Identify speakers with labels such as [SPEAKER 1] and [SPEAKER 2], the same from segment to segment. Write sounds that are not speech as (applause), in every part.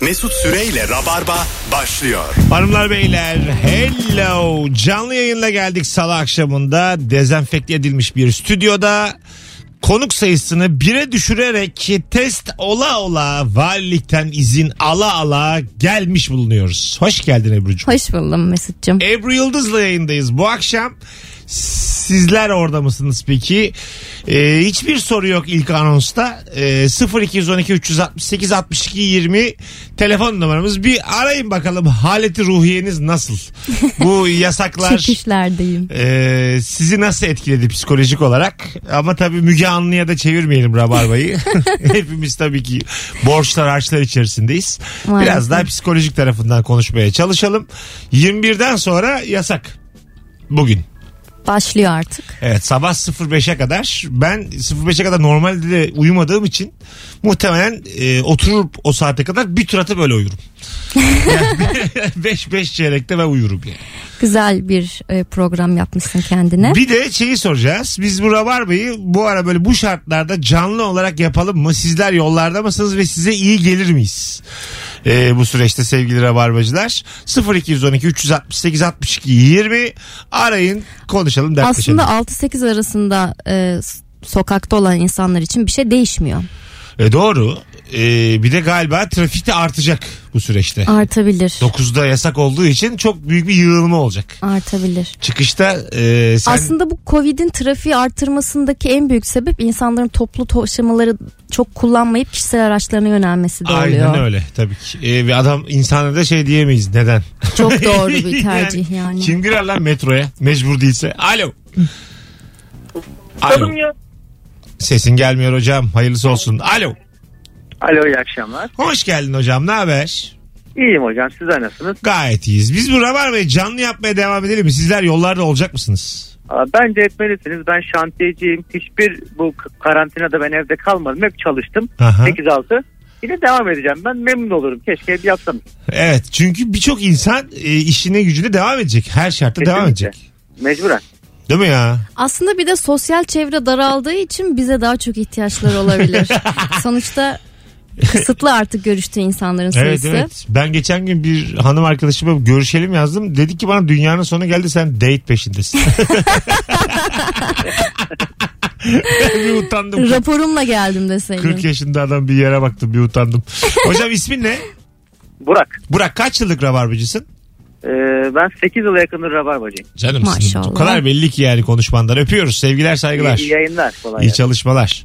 [SPEAKER 1] Mesut Süreyle Rabarba başlıyor.
[SPEAKER 2] Hanımlar beyler hello canlı yayınla geldik salı akşamında dezenfekte edilmiş bir stüdyoda konuk sayısını bire düşürerek test ola ola valilikten izin ala ala gelmiş bulunuyoruz. Hoş geldin Ebru'cum.
[SPEAKER 3] Hoş buldum Mesut'cum.
[SPEAKER 2] Ebru Yıldız'la yayındayız bu akşam. Sizler orada mısınız peki? Ee, hiçbir soru yok ilk anonsta. Ee, 0212 368 62 20 telefon numaramız. Bir arayın bakalım haleti ruhiyeniz nasıl? Bu yasaklar
[SPEAKER 3] Çekişlerdeyim.
[SPEAKER 2] e, sizi nasıl etkiledi psikolojik olarak? Ama tabii Müge Anlı'ya da çevirmeyelim Rabarba'yı. Hepimiz tabii ki borçlar harçlar içerisindeyiz.
[SPEAKER 3] Maalesef.
[SPEAKER 2] Biraz daha psikolojik tarafından konuşmaya çalışalım. 21'den sonra yasak. Bugün.
[SPEAKER 3] Başlıyor artık.
[SPEAKER 2] Evet sabah 05'e kadar ben 05'e kadar normalde de uyumadığım için muhtemelen e, oturup o saate kadar bir tur atıp öyle uyurum. (laughs) 5 5 çeyrekte ben uyurum yani.
[SPEAKER 3] Güzel bir e, program yapmışsın kendine.
[SPEAKER 2] Bir de şeyi soracağız. Biz bu Rabarba'yı bu ara böyle bu şartlarda canlı olarak yapalım mı? Sizler yollarda mısınız ve size iyi gelir miyiz? Ee, bu süreçte sevgili Rabarbacılar 0212 368 62 20 arayın konuşalım dertleşelim.
[SPEAKER 3] Aslında 6-8 arasında e, s- sokakta olan insanlar için bir şey değişmiyor.
[SPEAKER 2] E, doğru. Ee, bir de galiba trafik de artacak bu süreçte.
[SPEAKER 3] Artabilir.
[SPEAKER 2] 9'da yasak olduğu için çok büyük bir yığılma olacak.
[SPEAKER 3] Artabilir.
[SPEAKER 2] Çıkışta e, sen
[SPEAKER 3] Aslında bu Covid'in trafiği artırmasındaki en büyük sebep insanların toplu taşımaları çok kullanmayıp kişisel araçlarına yönelmesi de oluyor.
[SPEAKER 2] Aynen öyle tabii ki. Ee, ve adam insana da şey diyemeyiz
[SPEAKER 3] (laughs)
[SPEAKER 2] neden.
[SPEAKER 3] Çok doğru
[SPEAKER 2] (laughs)
[SPEAKER 3] bir tercih yani.
[SPEAKER 2] Kim girer lan metroya mecbur değilse? Alo. Alo.
[SPEAKER 4] Tanımıyor.
[SPEAKER 2] Sesin gelmiyor hocam. Hayırlısı olsun. Alo.
[SPEAKER 4] Alo iyi akşamlar.
[SPEAKER 2] Hoş geldin hocam. Ne haber?
[SPEAKER 4] İyiyim hocam sizler nasılsınız?
[SPEAKER 2] Gayet iyiyiz. Biz bu Rabarba'yı canlı yapmaya devam edelim mi? Sizler yollarda olacak mısınız?
[SPEAKER 4] Aa, Bence etmelisiniz. Ben şantiyeciyim. Hiçbir bu k- karantinada ben evde kalmadım. Hep çalıştım.
[SPEAKER 2] Aha.
[SPEAKER 4] 8-6. Yine devam edeceğim. Ben memnun olurum. Keşke hep yapsam.
[SPEAKER 2] Evet çünkü birçok insan e, işine gücüne devam edecek. Her şartta devam
[SPEAKER 4] Kesinlikle.
[SPEAKER 2] edecek.
[SPEAKER 4] Mecburen.
[SPEAKER 2] Değil mi ya?
[SPEAKER 3] Aslında bir de sosyal çevre daraldığı için bize daha çok
[SPEAKER 2] (laughs)
[SPEAKER 3] ihtiyaçları olabilir. Sonuçta kısıtlı artık görüştüğü insanların
[SPEAKER 2] Evet
[SPEAKER 3] sayısı.
[SPEAKER 2] evet. Ben geçen gün bir hanım arkadaşıma görüşelim yazdım. Dedi ki bana dünyanın sonu geldi sen date peşindesin. (laughs) bir utandım.
[SPEAKER 3] Raporumla geldim deseydin.
[SPEAKER 2] 40 yaşında adam bir yere baktım bir
[SPEAKER 3] (laughs)
[SPEAKER 2] utandım. Hocam ismin ne?
[SPEAKER 4] Burak.
[SPEAKER 2] Burak kaç yıllık rabarbacısın?
[SPEAKER 4] ee, ben 8 yıla yakındır rabarbacıyım.
[SPEAKER 2] Canım
[SPEAKER 3] Maşallah.
[SPEAKER 2] O kadar belli ki yani konuşmandan. Öpüyoruz. Sevgiler saygılar.
[SPEAKER 4] İyi, iyi yayınlar. Kolay
[SPEAKER 2] İyi
[SPEAKER 4] gelsin.
[SPEAKER 2] çalışmalar.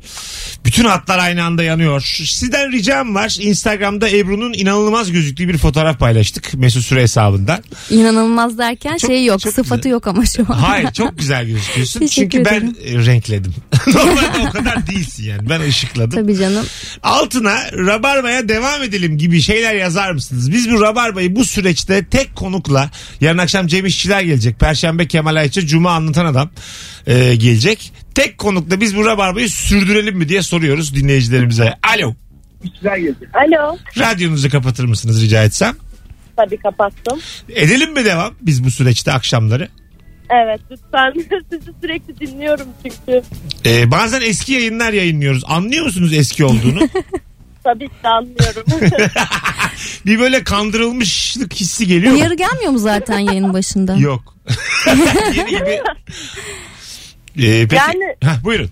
[SPEAKER 2] Bütün hatlar aynı anda yanıyor. Sizden ricam var. Instagram'da Ebru'nun inanılmaz gözüktüğü bir fotoğraf paylaştık. Mesut Süre hesabından.
[SPEAKER 3] İnanılmaz derken
[SPEAKER 2] Çok-
[SPEAKER 3] şey yok
[SPEAKER 2] çok
[SPEAKER 3] sıfatı
[SPEAKER 2] güzel.
[SPEAKER 3] yok ama şu an.
[SPEAKER 2] Hayır çok güzel gözüküyorsun.
[SPEAKER 3] Teşekkür
[SPEAKER 2] Çünkü ben e, renkledim. (laughs) Normalde o kadar değilsin yani. Ben ışıkladım.
[SPEAKER 3] Tabii canım.
[SPEAKER 2] Altına rabarbaya devam edelim gibi şeyler yazar mısınız? Biz bu rabarbayı bu süreçte tek konukla yarın akşam Cem İşçiler gelecek. Perşembe Kemal Ayça, Cuma Anlatan Adam e, gelecek. Tek konukla biz bu rabarbayı sürdürelim mi diye soruyoruz dinleyicilerimize. Alo.
[SPEAKER 5] Alo.
[SPEAKER 2] Radyonuzu kapatır mısınız rica etsem?
[SPEAKER 5] Tabii kapattım.
[SPEAKER 2] Edelim mi devam biz bu süreçte akşamları?
[SPEAKER 5] Evet lütfen. (laughs) Sizi sürekli dinliyorum çünkü.
[SPEAKER 2] E, bazen eski yayınlar yayınlıyoruz. Anlıyor musunuz eski olduğunu?
[SPEAKER 5] Tabii ki de anlıyorum.
[SPEAKER 2] (laughs) bir böyle kandırılmışlık hissi geliyor. mu?
[SPEAKER 3] Uyarı gelmiyor mu zaten yayının başında?
[SPEAKER 2] Yok. (laughs) Yeni gibi. Ee, peki.
[SPEAKER 5] Yani-
[SPEAKER 2] Hah, buyurun.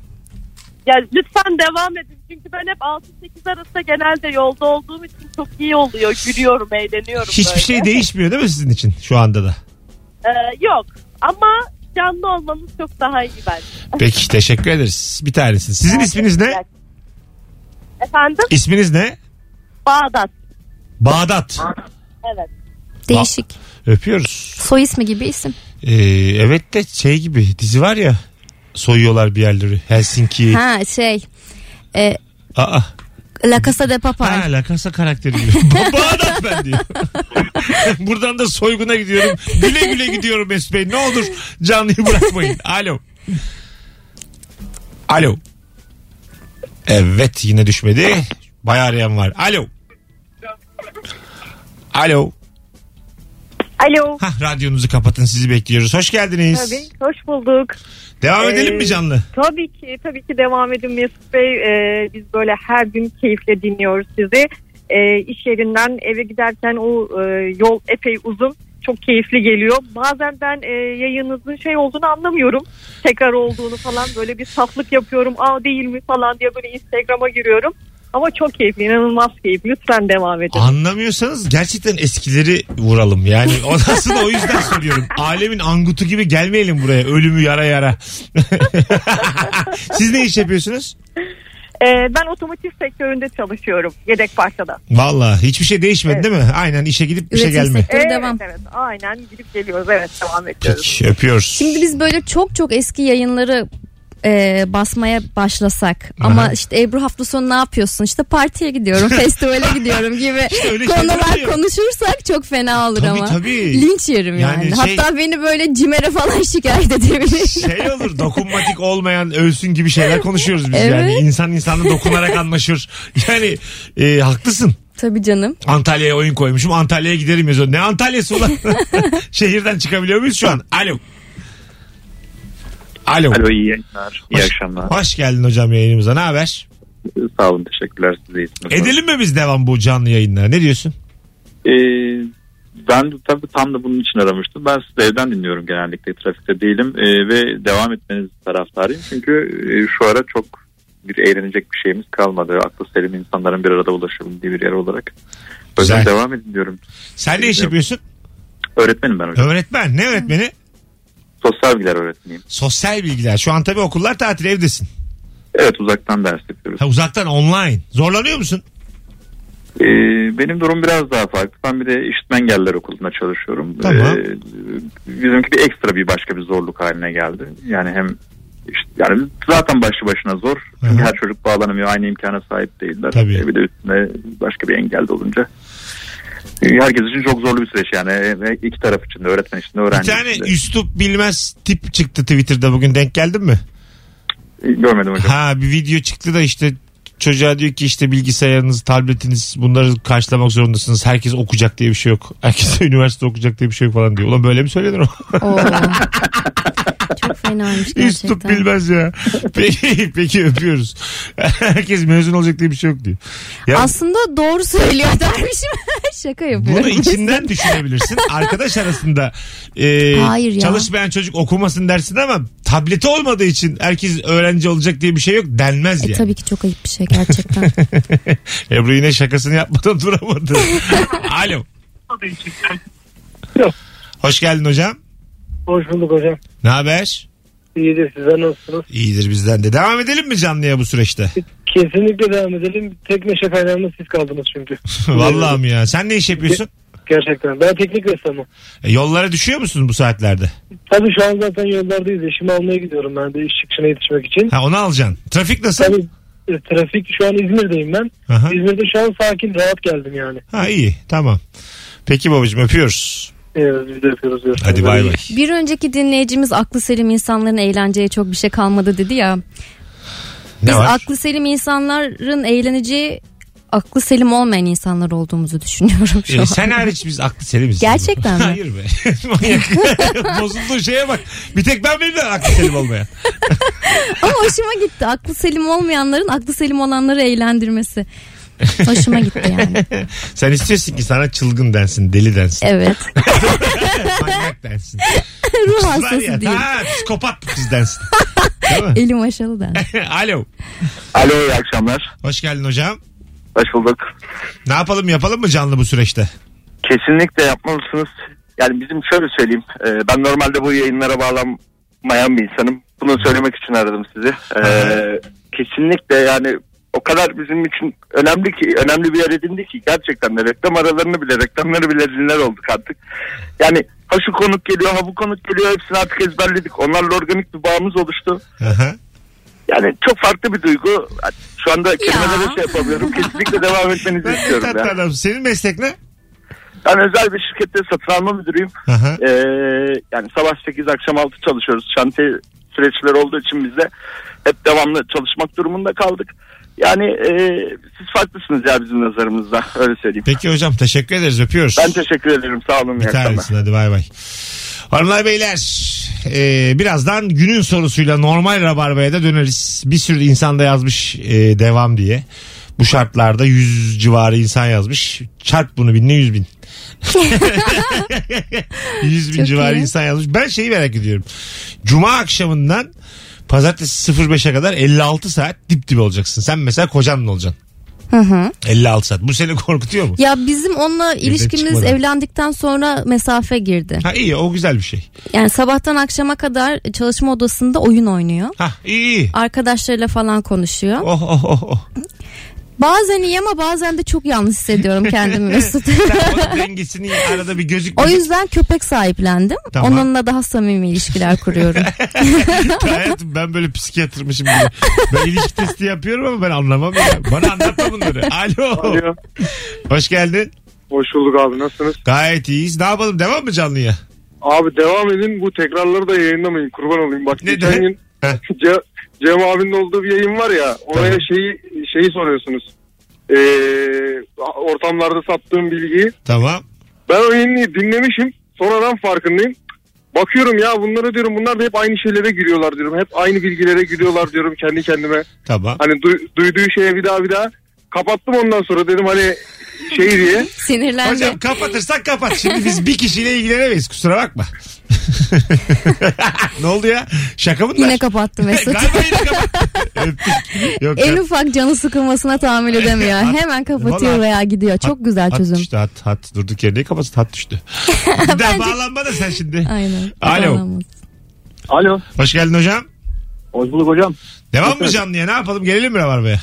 [SPEAKER 5] ya lütfen devam edin. Çünkü ben hep 6-8 arasında genelde yolda olduğum için çok iyi oluyor. Gülüyorum, eğleniyorum.
[SPEAKER 2] Hiçbir
[SPEAKER 5] böyle.
[SPEAKER 2] şey değişmiyor değil mi sizin için şu anda da?
[SPEAKER 5] Ee, yok. Ama canlı olmanız çok daha iyi bence.
[SPEAKER 2] Peki teşekkür ederiz. Bir tanesiniz. Sizin isminiz ne?
[SPEAKER 5] Efendim?
[SPEAKER 2] İsminiz ne?
[SPEAKER 5] Bağdat.
[SPEAKER 2] Bağdat.
[SPEAKER 5] Evet.
[SPEAKER 3] Değişik.
[SPEAKER 2] Öpüyoruz.
[SPEAKER 3] Soy ismi gibi isim.
[SPEAKER 2] Ee, evet de şey gibi dizi var ya soyuyorlar bir yerleri. Helsinki.
[SPEAKER 3] Ha şey. E,
[SPEAKER 2] Aa.
[SPEAKER 3] La Casa de Papel.
[SPEAKER 2] Ha La Casa karakteri diyor. (laughs) Ba- Bağdat ben diyor. (laughs) Buradan da soyguna gidiyorum. Güle güle gidiyorum Mesut Bey. Ne olur canlıyı bırakmayın. Alo. Alo. Evet yine düşmedi. Bayağı arayan var. Alo. Alo.
[SPEAKER 5] Alo.
[SPEAKER 2] Hah, radyonuzu kapatın sizi bekliyoruz. Hoş geldiniz.
[SPEAKER 5] Tabii. Hoş bulduk.
[SPEAKER 2] Devam edelim
[SPEAKER 5] Ee,
[SPEAKER 2] mi canlı?
[SPEAKER 5] Tabii ki, tabii ki devam edin Mesut Bey. Ee, biz böyle her gün keyifle dinliyoruz sizi. e, iş yerinden eve giderken o e, yol epey uzun. Çok keyifli geliyor. Bazen ben e, yayınınızın şey olduğunu anlamıyorum. Tekrar olduğunu falan böyle bir saflık yapıyorum. Aa değil mi falan diye böyle Instagram'a giriyorum. Ama çok keyifli, inanılmaz keyifli. Lütfen devam edin.
[SPEAKER 2] Ah. Anlamıyorsanız gerçekten eskileri vuralım. Yani o aslında o yüzden soruyorum. Alemin angutu gibi gelmeyelim buraya. Ölümü yara yara. (laughs) Siz ne iş yapıyorsunuz?
[SPEAKER 5] E, ben otomotiv sektöründe çalışıyorum. Yedek parçada.
[SPEAKER 2] Valla hiçbir şey değişmedi değil mi? Aynen işe gidip şey işe
[SPEAKER 3] Üretim
[SPEAKER 2] gelme.
[SPEAKER 3] sektörü devam.
[SPEAKER 5] evet. Aynen gidip geliyoruz. Evet devam ediyoruz.
[SPEAKER 2] Peki öpüyoruz.
[SPEAKER 3] Şimdi biz böyle çok çok eski yayınları e, basmaya başlasak ama
[SPEAKER 2] Aha.
[SPEAKER 3] işte Ebru hafta sonu ne yapıyorsun işte partiye
[SPEAKER 2] (laughs)
[SPEAKER 3] gidiyorum festivale gidiyorum gibi
[SPEAKER 2] öyle şeyler
[SPEAKER 3] konular
[SPEAKER 2] oluyor.
[SPEAKER 3] konuşursak çok fena olur
[SPEAKER 2] Tabii,
[SPEAKER 3] ama
[SPEAKER 2] tabii.
[SPEAKER 3] linç yerim yani,
[SPEAKER 2] Yani şey-
[SPEAKER 3] hatta beni böyle cimere falan (laughs)
[SPEAKER 2] (laughs)
[SPEAKER 3] şikayet edebilir
[SPEAKER 2] şey olur dokunmatik olmayan ölsün gibi şeyler konuşuyoruz biz
[SPEAKER 3] Evet.
[SPEAKER 2] yani. İnsan insanla dokunarak anlaşır. Yani e, haklısın. (laughs)
[SPEAKER 3] tabii canım
[SPEAKER 2] Antalya'ya oyun koymuşum. Antalya'ya giderim yazıyor. Ne Antalya'sı ulan? (laughs) Şehirden çıkabiliyor muyuz şu an? Alo. Alo.
[SPEAKER 6] Alo iyi yayınlar. İyi
[SPEAKER 2] Hoş-
[SPEAKER 6] akşamlar.
[SPEAKER 2] Hoş geldin hocam yayınımıza. Ne haber?
[SPEAKER 6] Sağ olun teşekkürler size iyisiniz.
[SPEAKER 2] Edelim mi biz devam bu canlı yayınlara? Ne diyorsun?
[SPEAKER 6] Ee, ben de tabii tam da bunun için aramıştım. Ben sizi evden dinliyorum genellikle trafikte değilim Ee, ve devam etmeniz taraftarıyım. Çünkü e, şu ara çok bir eğlenecek bir şeyimiz kalmadı. Aklı selim insanların bir arada ulaşabildiği bir yer olarak. O yüzden
[SPEAKER 2] Güzel.
[SPEAKER 6] devam edin diyorum.
[SPEAKER 2] Sen ne iş yapıyorsun?
[SPEAKER 6] Öğretmenim ben hocam.
[SPEAKER 2] Öğretmen. Ne öğretmeni?
[SPEAKER 6] Sosyal bilgiler öğretmeniyim.
[SPEAKER 2] Sosyal bilgiler. Şu an tabii okullar tatil evdesin.
[SPEAKER 6] Evet uzaktan ders yapıyoruz.
[SPEAKER 2] Ha, uzaktan online. Zorlanıyor musun?
[SPEAKER 6] Ee, benim durum biraz daha farklı. Ben bir de işitme engeller okulunda çalışıyorum.
[SPEAKER 2] Tamam.
[SPEAKER 6] Ee, bizimki bir ekstra bir başka bir zorluk haline geldi. Yani hem işte, yani zaten başlı başına zor. Çünkü
[SPEAKER 2] Hı hı.
[SPEAKER 6] her çocuk bağlanamıyor. Aynı imkana sahip değiller.
[SPEAKER 2] Tabii.
[SPEAKER 6] Ee, Bir de üstüne başka bir engel de olunca. Ee, Herkes için çok zorlu bir süreç yani. Ee, iki taraf için de öğretmen için
[SPEAKER 2] Bir
[SPEAKER 6] de öğrenci
[SPEAKER 2] tane
[SPEAKER 6] için de.
[SPEAKER 2] üslup bilmez tip çıktı Twitter'da bugün denk geldin mi?
[SPEAKER 6] Ee, Görmedim hocam.
[SPEAKER 2] Ha bir video çıktı da işte çocuğa diyor ki işte bilgisayarınız, tabletiniz bunları karşılamak zorundasınız. Herkes okuyacak diye bir şey yok. Herkes (laughs) de üniversite okuyacak diye bir şey yok falan diyor. Ulan böyle mi söylenir o? (laughs)
[SPEAKER 3] Oo. çok fenaymış
[SPEAKER 2] Üslup
[SPEAKER 3] gerçekten
[SPEAKER 2] bilmez
[SPEAKER 3] (laughs)
[SPEAKER 2] ya. Peki, peki öpüyoruz. Herkes mezun olacak diye bir şey yok diyor. Ya
[SPEAKER 3] aslında doğru söylüyor (laughs) dermişim şaka yapıyorum
[SPEAKER 2] bunu içinden
[SPEAKER 3] (laughs)
[SPEAKER 2] düşünebilirsin. Arkadaş arasında e,
[SPEAKER 3] Hayır ya.
[SPEAKER 2] çalışmayan çocuk okumasın dersin ama tableti olmadığı için herkes öğrenci olacak diye bir şey yok denmez
[SPEAKER 3] E,
[SPEAKER 2] yani.
[SPEAKER 3] tabii ki çok ayıp bir şey gerçekten.
[SPEAKER 2] (laughs) Ebru yine şakasını yapmadan duramadı.
[SPEAKER 3] (laughs)
[SPEAKER 2] Alo.
[SPEAKER 7] Yok.
[SPEAKER 2] Hoş geldin hocam.
[SPEAKER 7] Hoş bulduk hocam.
[SPEAKER 2] Ne haber?
[SPEAKER 7] İyidir size nasılsınız?
[SPEAKER 2] İyidir bizden de. Devam edelim mi canlıya bu süreçte?
[SPEAKER 7] Kesinlikle devam edelim. Tekne şoförlerimiz siz kaldınız çünkü.
[SPEAKER 2] (laughs) Vallahi mi ya? Sen ne iş yapıyorsun?
[SPEAKER 7] Gerçekten. Ben teknik ressamım.
[SPEAKER 2] E, Yollara düşüyor musun bu saatlerde?
[SPEAKER 7] Tabii şu an zaten yollardayız. Eşimi almaya gidiyorum ben de iş çıkışına yetişmek için.
[SPEAKER 2] Ha onu alacaksın. Trafik nasıl?
[SPEAKER 7] Tabii e, trafik şu an İzmir'deyim ben.
[SPEAKER 2] Aha.
[SPEAKER 7] İzmir'de şu an sakin rahat geldim yani.
[SPEAKER 2] Ha iyi tamam. Peki babacığım öpüyoruz.
[SPEAKER 7] Evet Ee, biz de yapıyoruz. görüşmek
[SPEAKER 2] Hadi
[SPEAKER 7] üzere.
[SPEAKER 2] bay bay.
[SPEAKER 3] Bir önceki dinleyicimiz aklı selim insanların eğlenceye çok bir şey kalmadı dedi ya. Biz
[SPEAKER 2] Ne var?
[SPEAKER 3] aklı selim insanların eğleneceği aklı selim olmayan insanlar olduğumuzu düşünüyorum şu
[SPEAKER 2] E,
[SPEAKER 3] an.
[SPEAKER 2] sen hariç biz aklı selimiz.
[SPEAKER 3] Gerçekten mi?
[SPEAKER 2] Hayır be. (laughs)
[SPEAKER 3] (laughs)
[SPEAKER 2] Manyak. Bozulduğu şeye bak. Bir tek ben benim de aklı selim olmayan.
[SPEAKER 3] Ama hoşuma gitti. Aklı selim olmayanların aklı selim olanları eğlendirmesi. Hoşuma gitti
[SPEAKER 2] (laughs)
[SPEAKER 3] yani.
[SPEAKER 2] Sen istiyorsun ki sana çılgın densin, deli densin.
[SPEAKER 3] Evet.
[SPEAKER 2] Manyak densin.
[SPEAKER 3] Ruh
[SPEAKER 2] Kızlar ya,
[SPEAKER 3] hastası değil.
[SPEAKER 2] Ha, psikopat bu kız densin. (laughs) Değil mi?
[SPEAKER 3] Elim
[SPEAKER 2] (laughs)
[SPEAKER 3] aşalı da.
[SPEAKER 2] Alo.
[SPEAKER 6] Alo iyi akşamlar.
[SPEAKER 2] Hoş geldin hocam.
[SPEAKER 6] Hoş bulduk.
[SPEAKER 2] Ne yapalım yapalım mı canlı bu süreçte?
[SPEAKER 6] Kesinlikle yapmalısınız. Yani bizim şöyle söyleyeyim. e, ben normalde bu yayınlara bağlanmayan bir insanım. Bunu söylemek için aradım sizi.
[SPEAKER 2] (laughs)
[SPEAKER 6] E,
[SPEAKER 2] Aha.
[SPEAKER 6] kesinlikle yani o kadar bizim için önemli ki önemli bir yer edindi ki gerçekten de reklam aralarını bile reklamları bile dinler olduk artık. Yani ha şu konuk geliyor ha bu konuk geliyor hepsini artık ezberledik. Onlarla organik bir bağımız oluştu.
[SPEAKER 2] Aha.
[SPEAKER 6] Yani çok farklı bir duygu. Şu anda kelimelere şey yapamıyorum. Kesinlikle devam etmenizi
[SPEAKER 2] Ben de
[SPEAKER 6] istiyorum.
[SPEAKER 2] tatlı
[SPEAKER 6] Yani.
[SPEAKER 2] adamsın. Senin meslek ne?
[SPEAKER 6] Ben özel bir şirkette satın alma müdürüyüm.
[SPEAKER 2] Aha.
[SPEAKER 6] Ee, yani sabah 8 akşam 6 çalışıyoruz. Şantiye süreçleri olduğu için biz de hep devamlı çalışmak durumunda kaldık. Yani e, siz farklısınız ya bizim nazarımızda öyle söyleyeyim.
[SPEAKER 2] Peki hocam teşekkür ederiz öpüyoruz.
[SPEAKER 6] Ben teşekkür ederim sağ olun. iyi
[SPEAKER 2] Bir
[SPEAKER 6] akşamlar.
[SPEAKER 2] tanesin hadi bay bay. Hanımlar beyler e, birazdan günün sorusuyla normal rabarbaya da döneriz. Bir sürü insan da yazmış e, devam diye. Bu şartlarda 100 civarı insan yazmış. Çarp bunu binle 100
[SPEAKER 3] (laughs)
[SPEAKER 2] bin. 100 bin
[SPEAKER 3] Çok
[SPEAKER 2] civarı
[SPEAKER 3] iyi.
[SPEAKER 2] insan yazmış. Ben şeyi merak ediyorum. Cuma akşamından pazartesi 05'e kadar 56 saat dip dibe olacaksın. Sen mesela kocanla olacaksın.
[SPEAKER 3] Hı hı.
[SPEAKER 2] 56 saat. Bu seni korkutuyor mu?
[SPEAKER 3] Ya bizim onunla ilişkimiz
[SPEAKER 2] çıkmadan.
[SPEAKER 3] evlendikten sonra mesafe girdi.
[SPEAKER 2] Ha iyi o güzel bir şey.
[SPEAKER 3] Yani sabahtan akşama kadar çalışma odasında oyun oynuyor.
[SPEAKER 2] Ha iyi iyi.
[SPEAKER 3] Arkadaşlarıyla falan konuşuyor.
[SPEAKER 2] Oh oh oh. oh.
[SPEAKER 3] Bazen iyi ama bazen de çok yalnız hissediyorum
[SPEAKER 2] (laughs)
[SPEAKER 3] kendimi Mesut.
[SPEAKER 2] Sen onun dengesini arada bir gözük.
[SPEAKER 3] o yüzden köpek sahiplendim.
[SPEAKER 2] Tamam.
[SPEAKER 3] Onunla daha samimi ilişkiler
[SPEAKER 2] (laughs)
[SPEAKER 3] kuruyorum.
[SPEAKER 2] Hayatım ben böyle psikiyatrmışım gibi. Ben ilişki testi yapıyorum ama ben anlamam ya. Bana anlatma bunları. Alo.
[SPEAKER 8] Alo.
[SPEAKER 2] Hoş geldin.
[SPEAKER 8] Hoş bulduk abi nasılsınız?
[SPEAKER 2] Gayet iyiyiz. Ne yapalım devam mı canlıya?
[SPEAKER 8] Abi devam edin bu tekrarları da yayınlamayın kurban olayım. Bak
[SPEAKER 2] Neden?
[SPEAKER 8] geçen gün
[SPEAKER 2] (laughs) Heh.
[SPEAKER 8] Ce- Cem abinin olduğu bir yayın var ya oraya
[SPEAKER 2] Tamam.
[SPEAKER 8] şeyi şeyi soruyorsunuz. Ee, ortamlarda sattığım bilgiyi.
[SPEAKER 2] Tamam.
[SPEAKER 8] Ben o yayını dinlemişim sonradan farkındayım. Bakıyorum ya bunları diyorum bunlar da hep aynı şeylere giriyorlar diyorum. Hep aynı bilgilere giriyorlar diyorum kendi kendime.
[SPEAKER 2] Tamam.
[SPEAKER 8] Hani du- duyduğu şeye bir daha bir daha kapattım ondan sonra dedim hani şey diye.
[SPEAKER 3] Sinirlendi.
[SPEAKER 2] Hocam kapatırsak kapat. Şimdi biz bir kişiyle ilgilenemeyiz. Kusura bakma. (laughs) ne oldu ya? Şaka bunlar.
[SPEAKER 3] Yine kapattı Mesut.
[SPEAKER 2] Galiba yine kapat. Öptük. Yok,
[SPEAKER 3] en
[SPEAKER 2] ya.
[SPEAKER 3] ufak canı sıkılmasına tahammül edemiyor.
[SPEAKER 2] Hat-
[SPEAKER 3] Hemen kapatıyor
[SPEAKER 2] Vallahi-
[SPEAKER 3] veya gidiyor. Çok güzel
[SPEAKER 2] Hat
[SPEAKER 3] çözüm.
[SPEAKER 2] düştü hat hat. Durduk yere niye kapatsın hat
[SPEAKER 3] (laughs)
[SPEAKER 2] düştü. Bir daha bağlanma da sen şimdi.
[SPEAKER 3] Aynen.
[SPEAKER 2] Alo.
[SPEAKER 3] Olamaz.
[SPEAKER 4] Alo.
[SPEAKER 2] Hoş geldin hocam.
[SPEAKER 4] Hoş bulduk hocam.
[SPEAKER 2] Devam mı canlıya ne yapalım gelelim mi Rabarba'ya?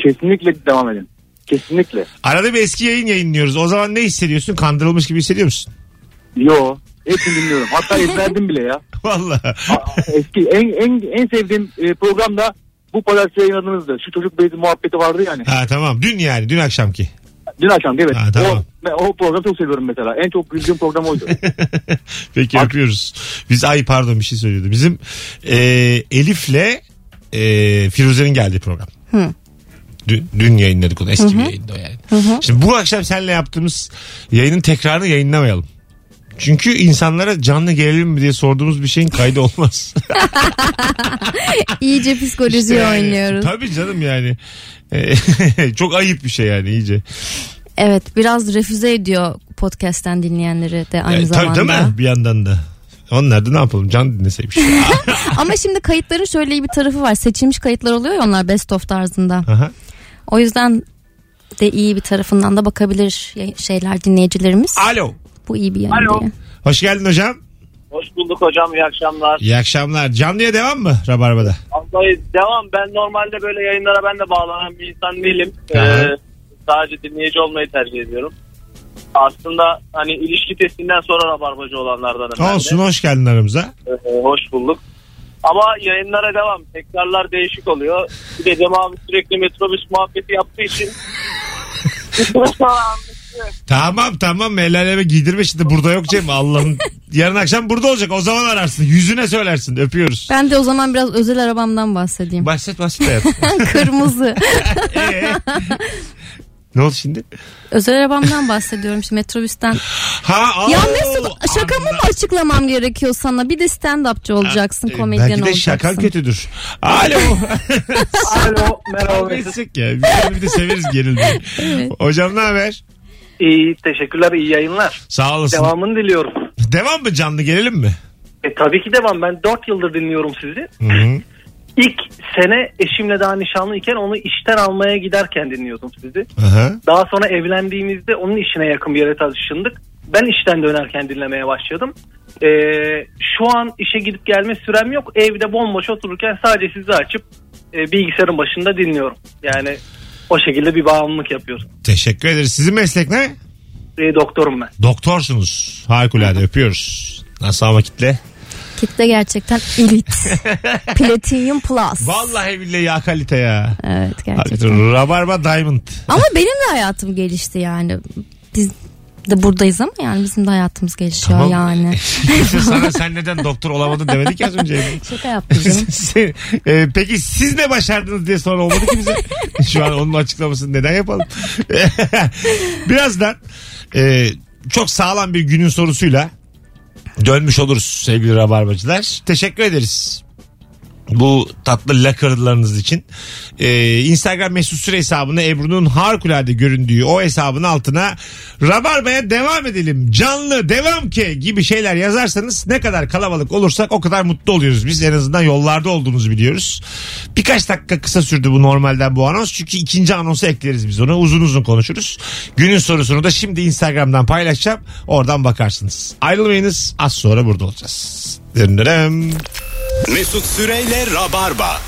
[SPEAKER 4] Kesinlikle devam edin. Kesinlikle.
[SPEAKER 2] Arada bir eski yayın yayınlıyoruz. O zaman ne hissediyorsun? Kandırılmış gibi hissediyor musun? (laughs)
[SPEAKER 4] Yo. Hepsini dinliyorum. Hatta ezberledim bile ya.
[SPEAKER 2] Valla.
[SPEAKER 4] Aa, Eski en en en sevdiğim e, program da bu pazartesi yayınladığınızdı. Şu çocuk bezi muhabbeti vardı yani.
[SPEAKER 2] Ha tamam. Dün yani. Dün akşamki. (laughs)
[SPEAKER 4] Dün akşam evet.
[SPEAKER 2] Ha, tamam.
[SPEAKER 4] O, ben o programı çok seviyorum mesela. En çok güldüğüm program
[SPEAKER 2] (laughs)
[SPEAKER 4] oydu.
[SPEAKER 2] Peki yapıyoruz. Biz ay pardon bir şey söylüyordu. Bizim e, Elif'le e, Firuze'nin geldiği program.
[SPEAKER 3] Hı.
[SPEAKER 2] Dün, dün yayınladık onu. Eski bir yayında o yani. Şimdi bu akşam seninle yaptığımız yayının tekrarını yayınlamayalım. Çünkü insanlara canlı gelelim mi diye sorduğumuz bir şeyin kaydı (laughs) olmaz.
[SPEAKER 3] İyice psikolojiye
[SPEAKER 2] İşte yani,
[SPEAKER 3] oynuyoruz.
[SPEAKER 2] Tabii canım yani. E, (laughs) çok ayıp bir şey yani iyice.
[SPEAKER 3] Evet biraz refüze ediyor podcast'ten dinleyenleri de aynı
[SPEAKER 2] Yani E, tabii
[SPEAKER 3] zamanda.
[SPEAKER 2] değil mi? Bir yandan da. Onlar da ne yapalım can
[SPEAKER 3] (laughs)
[SPEAKER 2] dinleseymiş.
[SPEAKER 3] Ama şimdi kayıtların şöyle iyi bir tarafı var. Seçilmiş kayıtlar oluyor ya onlar best of tarzında.
[SPEAKER 2] Aha.
[SPEAKER 3] O yüzden de iyi bir tarafından da bakabilir ya- şeyler dinleyicilerimiz.
[SPEAKER 2] Alo.
[SPEAKER 3] Bu iyi bir yön
[SPEAKER 4] Alo.
[SPEAKER 3] diye.
[SPEAKER 2] Hoş geldin hocam.
[SPEAKER 4] Hoş bulduk hocam. iyi akşamlar.
[SPEAKER 2] İyi akşamlar. Canlıya devam mı Rabarba'da?
[SPEAKER 4] Vallahi devam. Ben normalde böyle yayınlara ben de bağlanan bir insan değilim. Ee,
[SPEAKER 2] Aha.
[SPEAKER 4] sadece dinleyici olmayı tercih ediyorum. Aslında hani ilişki testinden sonra rabarbacı olanlardanım ben de.
[SPEAKER 2] Olsun hoş geldin aramıza.
[SPEAKER 4] Ee, hoş bulduk. Ama yayınlara devam. Tekrarlar değişik oluyor. Bir de Cem abi sürekli metrobüs muhabbeti yaptığı için.
[SPEAKER 2] Tamam tamam el aleme giydirme şimdi burada yok Cem
[SPEAKER 3] (laughs)
[SPEAKER 2] Allah'ım. Yarın akşam burada olacak o zaman ararsın yüzüne söylersin öpüyoruz.
[SPEAKER 3] Ben de o zaman biraz özel arabamdan bahsedeyim.
[SPEAKER 2] Bahset bahset hayat.
[SPEAKER 3] (laughs)
[SPEAKER 2] (laughs)
[SPEAKER 3] Kırmızı.
[SPEAKER 2] Ee? ne oldu şimdi?
[SPEAKER 3] özel arabamdan bahsediyorum şimdi metrobüsten.
[SPEAKER 2] Ha,
[SPEAKER 3] ya
[SPEAKER 2] aa,
[SPEAKER 3] Mesut şakamı mı
[SPEAKER 2] anla-
[SPEAKER 3] açıklamam gerekiyor sana? Bir de stand-upçı olacaksın,
[SPEAKER 2] Ee,
[SPEAKER 3] komedyen
[SPEAKER 2] Belki de
[SPEAKER 3] olacaksın.
[SPEAKER 2] şakan kötüdür. Alo.
[SPEAKER 4] Alo
[SPEAKER 2] Kavga etsek ya. Bir, bir de severiz gerilmeyi. Hocam ne haber?
[SPEAKER 4] İyi teşekkürler iyi yayınlar.
[SPEAKER 2] Sağ olasın. Devam.
[SPEAKER 4] Devamını diliyorum.
[SPEAKER 2] mı canlı gelelim mi?
[SPEAKER 4] E, tabii ki devam. Ben 4 yıldır dinliyorum sizi.
[SPEAKER 2] Hı-hı.
[SPEAKER 4] İlk sene eşimle daha nişanlıyken onu işten almaya giderken dinliyordum sizi.
[SPEAKER 2] Aha.
[SPEAKER 4] Daha sonra evlendiğimizde onun işine yakın bir yere taşındık. Ben işten dönerken dinlemeye başladım. Ee, şu an işe gidip gelme sürem yok. Evde bomboş otururken sadece sizi açıp e, bilgisayarın başında dinliyorum. Yani o şekilde bir bağımlılık yapıyorum.
[SPEAKER 2] Teşekkür ederiz. Sizin meslek ne?
[SPEAKER 4] Ee, doktorum ben.
[SPEAKER 2] Doktorsunuz. Harikulade öpüyoruz. Nasıl ama kitle?
[SPEAKER 3] Kitle gerçekten elit.
[SPEAKER 2] (laughs)
[SPEAKER 3] Platinum Plus.
[SPEAKER 2] Vallahi billahi ya kalite ya.
[SPEAKER 3] Evet gerçekten.
[SPEAKER 2] Hakikaten Rabarba Diamond.
[SPEAKER 3] Ama benim de hayatım gelişti yani. Biz de buradayız ama yani bizim de hayatımız gelişiyor
[SPEAKER 2] Tamam. (laughs)
[SPEAKER 3] yani.
[SPEAKER 2] Sana sen neden doktor olamadın demedik ya az önce.
[SPEAKER 3] Şaka
[SPEAKER 2] (laughs)
[SPEAKER 3] yaptım canım.
[SPEAKER 2] Sen- e, peki siz ne başardınız diye sonra olmadı ki bize. (laughs) Şu an onun açıklamasını neden yapalım? (laughs) Birazdan e, çok sağlam bir günün sorusuyla dönmüş oluruz sevgili Rabarbacılar. Teşekkür ederiz. bu tatlı lakırdılarınız için. Ee, Instagram mesut süre hesabına Ebru'nun harikulade göründüğü o hesabın altına Rabarba'ya devam edelim canlı devam ki gibi şeyler yazarsanız ne kadar kalabalık olursak o kadar mutlu oluyoruz. Biz en azından yollarda olduğumuzu biliyoruz. Birkaç dakika kısa sürdü bu normalden bu anons çünkü ikinci anonsu ekleriz biz onu uzun uzun konuşuruz. Günün sorusunu da şimdi Instagram'dan paylaşacağım oradan bakarsınız. Ayrılmayınız az sonra burada olacağız. Dırnırım.
[SPEAKER 1] Mesut Süreyle Rabarba.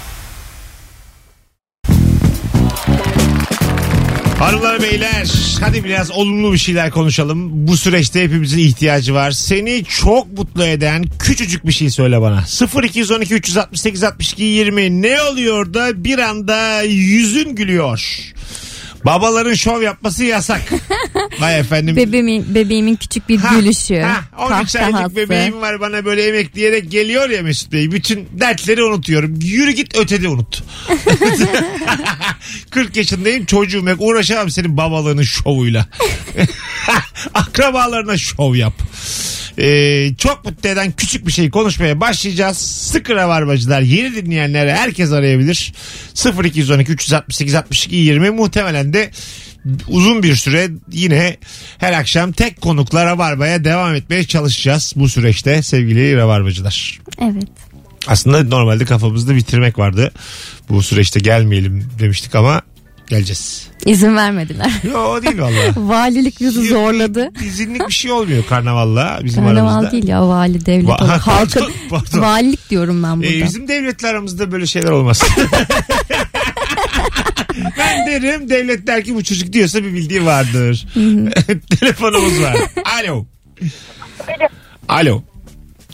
[SPEAKER 2] Hanımlar beyler hadi biraz olumlu bir şeyler konuşalım. Bu süreçte hepimizin ihtiyacı var. Seni çok mutlu eden küçücük bir şey söyle bana. 0212 368 62 20 ne oluyor da bir anda yüzün gülüyor. Babaların şov yapması yasak. Vay efendim.
[SPEAKER 3] Bebeğimin, bebeğimin küçük bir
[SPEAKER 2] Ha,
[SPEAKER 3] gülüşü.
[SPEAKER 2] Ha, 13 aylık
[SPEAKER 3] kahkahası.
[SPEAKER 2] bebeğim var bana böyle yemek diyerek geliyor ya Mesut Bey. Bütün dertleri unutuyorum. Yürü git ötede unut.
[SPEAKER 3] (laughs)
[SPEAKER 2] (laughs) 40 yaşındayım çocuğum yok. Uğraşamam senin babalığının şovuyla. Akrabalarına şov yap. Ee, çok mutlu eden küçük bir şey konuşmaya başlayacağız. Sıkı rabarbacılar yeni dinleyenlere herkes arayabilir. 0212 368 62 20 muhtemelen de uzun bir süre yine her akşam tek konukla rabarbaya devam etmeye çalışacağız bu süreçte sevgili rabarbacılar.
[SPEAKER 3] Evet.
[SPEAKER 2] Aslında normalde kafamızda bitirmek vardı. Bu süreçte gelmeyelim demiştik ama geleceğiz.
[SPEAKER 3] İzin vermediler.
[SPEAKER 2] Yo değil valla.
[SPEAKER 3] (laughs) Valilik bizi zorladı.
[SPEAKER 2] Dizinlik bir şey olmuyor karnavalla bizim
[SPEAKER 3] Karnaval
[SPEAKER 2] aramızda. (laughs)
[SPEAKER 3] değil ya vali devlet.
[SPEAKER 2] Va-
[SPEAKER 3] olur.
[SPEAKER 2] Ha,
[SPEAKER 3] Halkın
[SPEAKER 2] pardon, (laughs) pardon.
[SPEAKER 3] valilik diyorum ben burada.
[SPEAKER 2] Ee, bizim devletler aramızda böyle şeyler olmaz. (laughs) ben derim devlet der ki bu çocuk diyorsa bir bildiği vardır. (laughs) Telefonumuz var. Alo. Alo.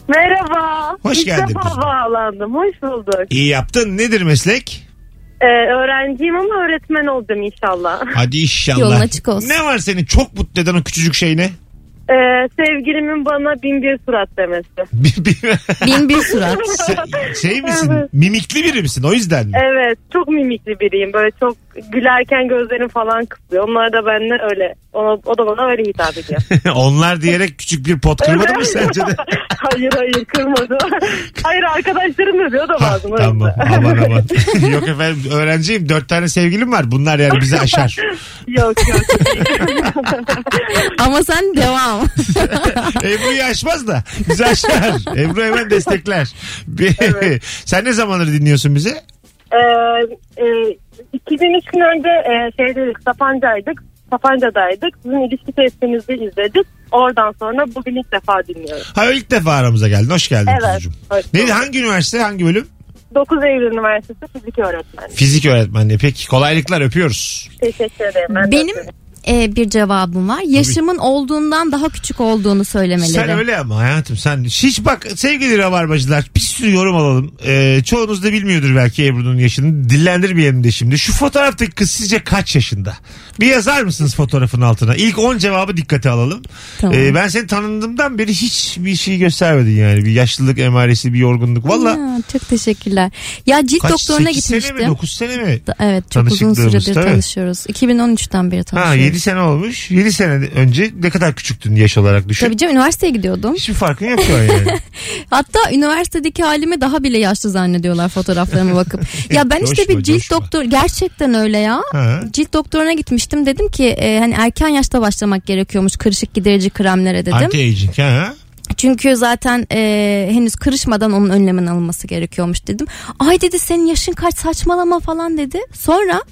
[SPEAKER 5] Merhaba.
[SPEAKER 2] Hoş
[SPEAKER 5] İlk
[SPEAKER 2] geldin
[SPEAKER 5] defa
[SPEAKER 2] kızım.
[SPEAKER 5] bağlandım. Hoş bulduk.
[SPEAKER 2] İyi yaptın. Nedir meslek?
[SPEAKER 5] Ee, öğrenciyim ama öğretmen olacağım inşallah.
[SPEAKER 2] Hadi inşallah.
[SPEAKER 3] Yolun açık olsun.
[SPEAKER 2] Ne var senin çok mutlu eden o küçücük şey ne?
[SPEAKER 5] Ee, sevgilimin bana bin bir surat demesi.
[SPEAKER 2] (laughs) Bir- bir-
[SPEAKER 3] (laughs) Bin bir surat.
[SPEAKER 2] Se- şey misin?
[SPEAKER 5] Evet.
[SPEAKER 2] Mimikli biri misin? O yüzden mi?
[SPEAKER 5] Evet çok mimikli biriyim. Böyle çok gülerken gözlerim falan kısılıyor. Onlar da benimle öyle. Ona, o da bana öyle hitap ediyor.
[SPEAKER 2] Onlar diyerek küçük bir pot (laughs) kırmadı mı sence de?
[SPEAKER 5] (laughs) hayır hayır
[SPEAKER 2] (laughs)
[SPEAKER 5] kırmadı. hayır arkadaşlarım yapıyor da
[SPEAKER 2] Ha,
[SPEAKER 5] bazen.
[SPEAKER 2] tamam aman aman. Yok efendim öğrenciyim dört tane sevgilim var. Bunlar yani bizi aşar.
[SPEAKER 5] yok yok.
[SPEAKER 3] Ama sen devam.
[SPEAKER 2] Ebru'yu aşmaz da bizi aşar. Ebru hemen destekler. (laughs) Bir- Sen ne zamandır dinliyorsun bizi?
[SPEAKER 5] Ee, e, 2003 gün önce e, şeydeydik Sapanca'ydık. Sapanca'daydık. Sizin ilişki testinizi izledik. Oradan sonra bugün ilk defa dinliyorum.
[SPEAKER 2] Ha ilk defa aramıza geldin. Hoş geldin
[SPEAKER 5] Evet.
[SPEAKER 2] kuzucuğum.
[SPEAKER 5] Hoş
[SPEAKER 2] Ne,
[SPEAKER 5] bulduk.
[SPEAKER 2] hangi üniversite hangi bölüm?
[SPEAKER 5] 9 Eylül Üniversitesi Fizik Öğretmeni.
[SPEAKER 2] Fizik öğretmenliği. Peki kolaylıklar öpüyoruz.
[SPEAKER 5] Teşekkür ederim. Ben de
[SPEAKER 3] Benim (laughs) e, bir cevabım var. Yaşımın olduğundan daha küçük olduğunu söylemeleri.
[SPEAKER 2] Sen öyle ama hayatım sen hiç bak sevgili rabarbacılar bir sürü yorum alalım. Ee, çoğunuz da bilmiyordur belki Ebru'nun yaşını. Dillendirmeyelim de şimdi. Şu fotoğraftaki kız sizce kaç yaşında? Bir yazar mısınız fotoğrafın altına? İlk 10 cevabı dikkate alalım.
[SPEAKER 3] Tamam.
[SPEAKER 2] Ee, ben seni tanındığımdan beri hiçbir şey göstermedin yani. Bir yaşlılık emaresi, bir yorgunluk. Valla
[SPEAKER 3] Ya, çok teşekkürler. Ya cilt
[SPEAKER 2] kaç
[SPEAKER 3] doktoruna
[SPEAKER 2] 8
[SPEAKER 3] gitmiştim.
[SPEAKER 2] sene mi 9 sene mi?
[SPEAKER 3] Da- Evet çok uzun
[SPEAKER 2] Tanışıklığımız,
[SPEAKER 3] süredir
[SPEAKER 2] tabii.
[SPEAKER 3] tanışıyoruz. 2013'ten beri
[SPEAKER 2] Ha
[SPEAKER 3] tanışıyoruz.
[SPEAKER 2] 7 sene olmuş. 7 sene önce ne kadar küçüktün yaş olarak düşün.
[SPEAKER 3] Tabii canım üniversiteye gidiyordum.
[SPEAKER 2] Hiçbir farkın yok şu an yani.
[SPEAKER 3] (laughs) Hatta üniversitedeki halimi daha bile yaşlı zannediyorlar fotoğraflarıma
[SPEAKER 2] (laughs)
[SPEAKER 3] bakıp. ya ben işte
[SPEAKER 2] Coşma,
[SPEAKER 3] bir cilt
[SPEAKER 2] coşma.
[SPEAKER 3] doktor gerçekten öyle ya.
[SPEAKER 2] Ha.
[SPEAKER 3] Cilt doktoruna gitmiştim dedim ki e, hani erken yaşta başlamak gerekiyormuş kırışık giderici kremlere dedim.
[SPEAKER 2] Anti-aging ha.
[SPEAKER 3] Çünkü zaten e, henüz kırışmadan onun önlemen alınması gerekiyormuş dedim. Ay dedi senin yaşın kaç saçmalama falan dedi. Sonra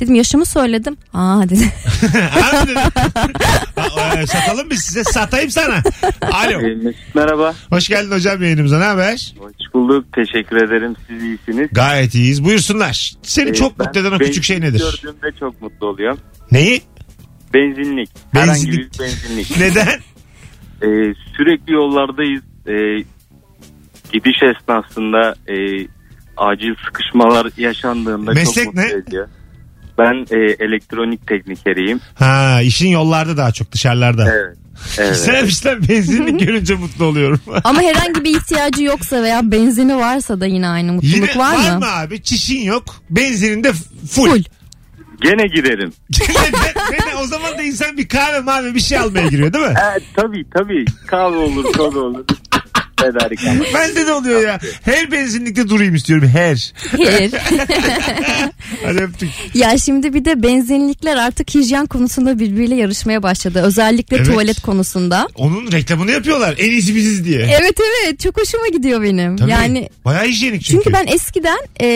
[SPEAKER 3] dedim yaşımı söyledim. Aa dedi. (laughs)
[SPEAKER 2] Abi (laughs) dedim. Ha, e, Satalım biz size. Satayım sana. Alo.
[SPEAKER 9] Ee, Mesut merhaba.
[SPEAKER 2] Hoş geldin hocam yayınımıza. Ne haber?
[SPEAKER 9] Hoş bulduk. Teşekkür ederim. Siz iyisiniz.
[SPEAKER 2] Gayet iyiyiz. Buyursunlar. Seni
[SPEAKER 9] Ee,
[SPEAKER 2] çok
[SPEAKER 9] ben
[SPEAKER 2] mutlu eden o küçük şey
[SPEAKER 9] benzinlik
[SPEAKER 2] nedir?
[SPEAKER 9] Gördüğümde çok mutlu oluyorum.
[SPEAKER 2] Neyi?
[SPEAKER 9] Benzinlik. Herhangi bir
[SPEAKER 2] Benzinlik.
[SPEAKER 9] benzinlik. (laughs)
[SPEAKER 2] Neden?
[SPEAKER 9] Ee, sürekli yollardayız. Ee, gidiş esnasında e, acil sıkışmalar yaşandığında
[SPEAKER 2] Meslek
[SPEAKER 9] çok
[SPEAKER 2] ne?
[SPEAKER 9] mutlu ediyor. Ben e, elektronik teknikeriyim.
[SPEAKER 2] Ha işin yollarda daha çok dışarılarda.
[SPEAKER 9] Evet. Evet.
[SPEAKER 2] Sen işte benzinlik görünce mutlu oluyorum.
[SPEAKER 3] Ama herhangi bir ihtiyacı yoksa veya benzini varsa da yine aynı mutluluk
[SPEAKER 2] Yine
[SPEAKER 3] var, mı?
[SPEAKER 2] abi? Çişin yok. Benzinin de full. (laughs)
[SPEAKER 3] Full.
[SPEAKER 9] Gene giderim.
[SPEAKER 2] Neden- neden? o zaman da
[SPEAKER 9] E,
[SPEAKER 2] insan bir kahve mavi bir şey almaya giriyor değil mi? (laughs)
[SPEAKER 9] Ee, tabii tabii. Kahve olur, kola olur. tedarik ama.
[SPEAKER 2] Bende de oluyor ya. Her benzinlikte durayım istiyorum. Her. (laughs)
[SPEAKER 3] Hayır.
[SPEAKER 2] Hadi öptük.
[SPEAKER 3] Ya şimdi bir de benzinlikler artık hijyen konusunda birbiriyle yarışmaya başladı. Özellikle
[SPEAKER 2] Evet.
[SPEAKER 3] tuvalet konusunda.
[SPEAKER 2] Onun reklamını yapıyorlar. En iyisi biziz diye.
[SPEAKER 3] Evet evet çok hoşuma gidiyor benim.
[SPEAKER 2] Tabii.
[SPEAKER 3] Yani
[SPEAKER 2] Bayağı hijyenik çünkü.
[SPEAKER 3] çünkü ben eskiden e,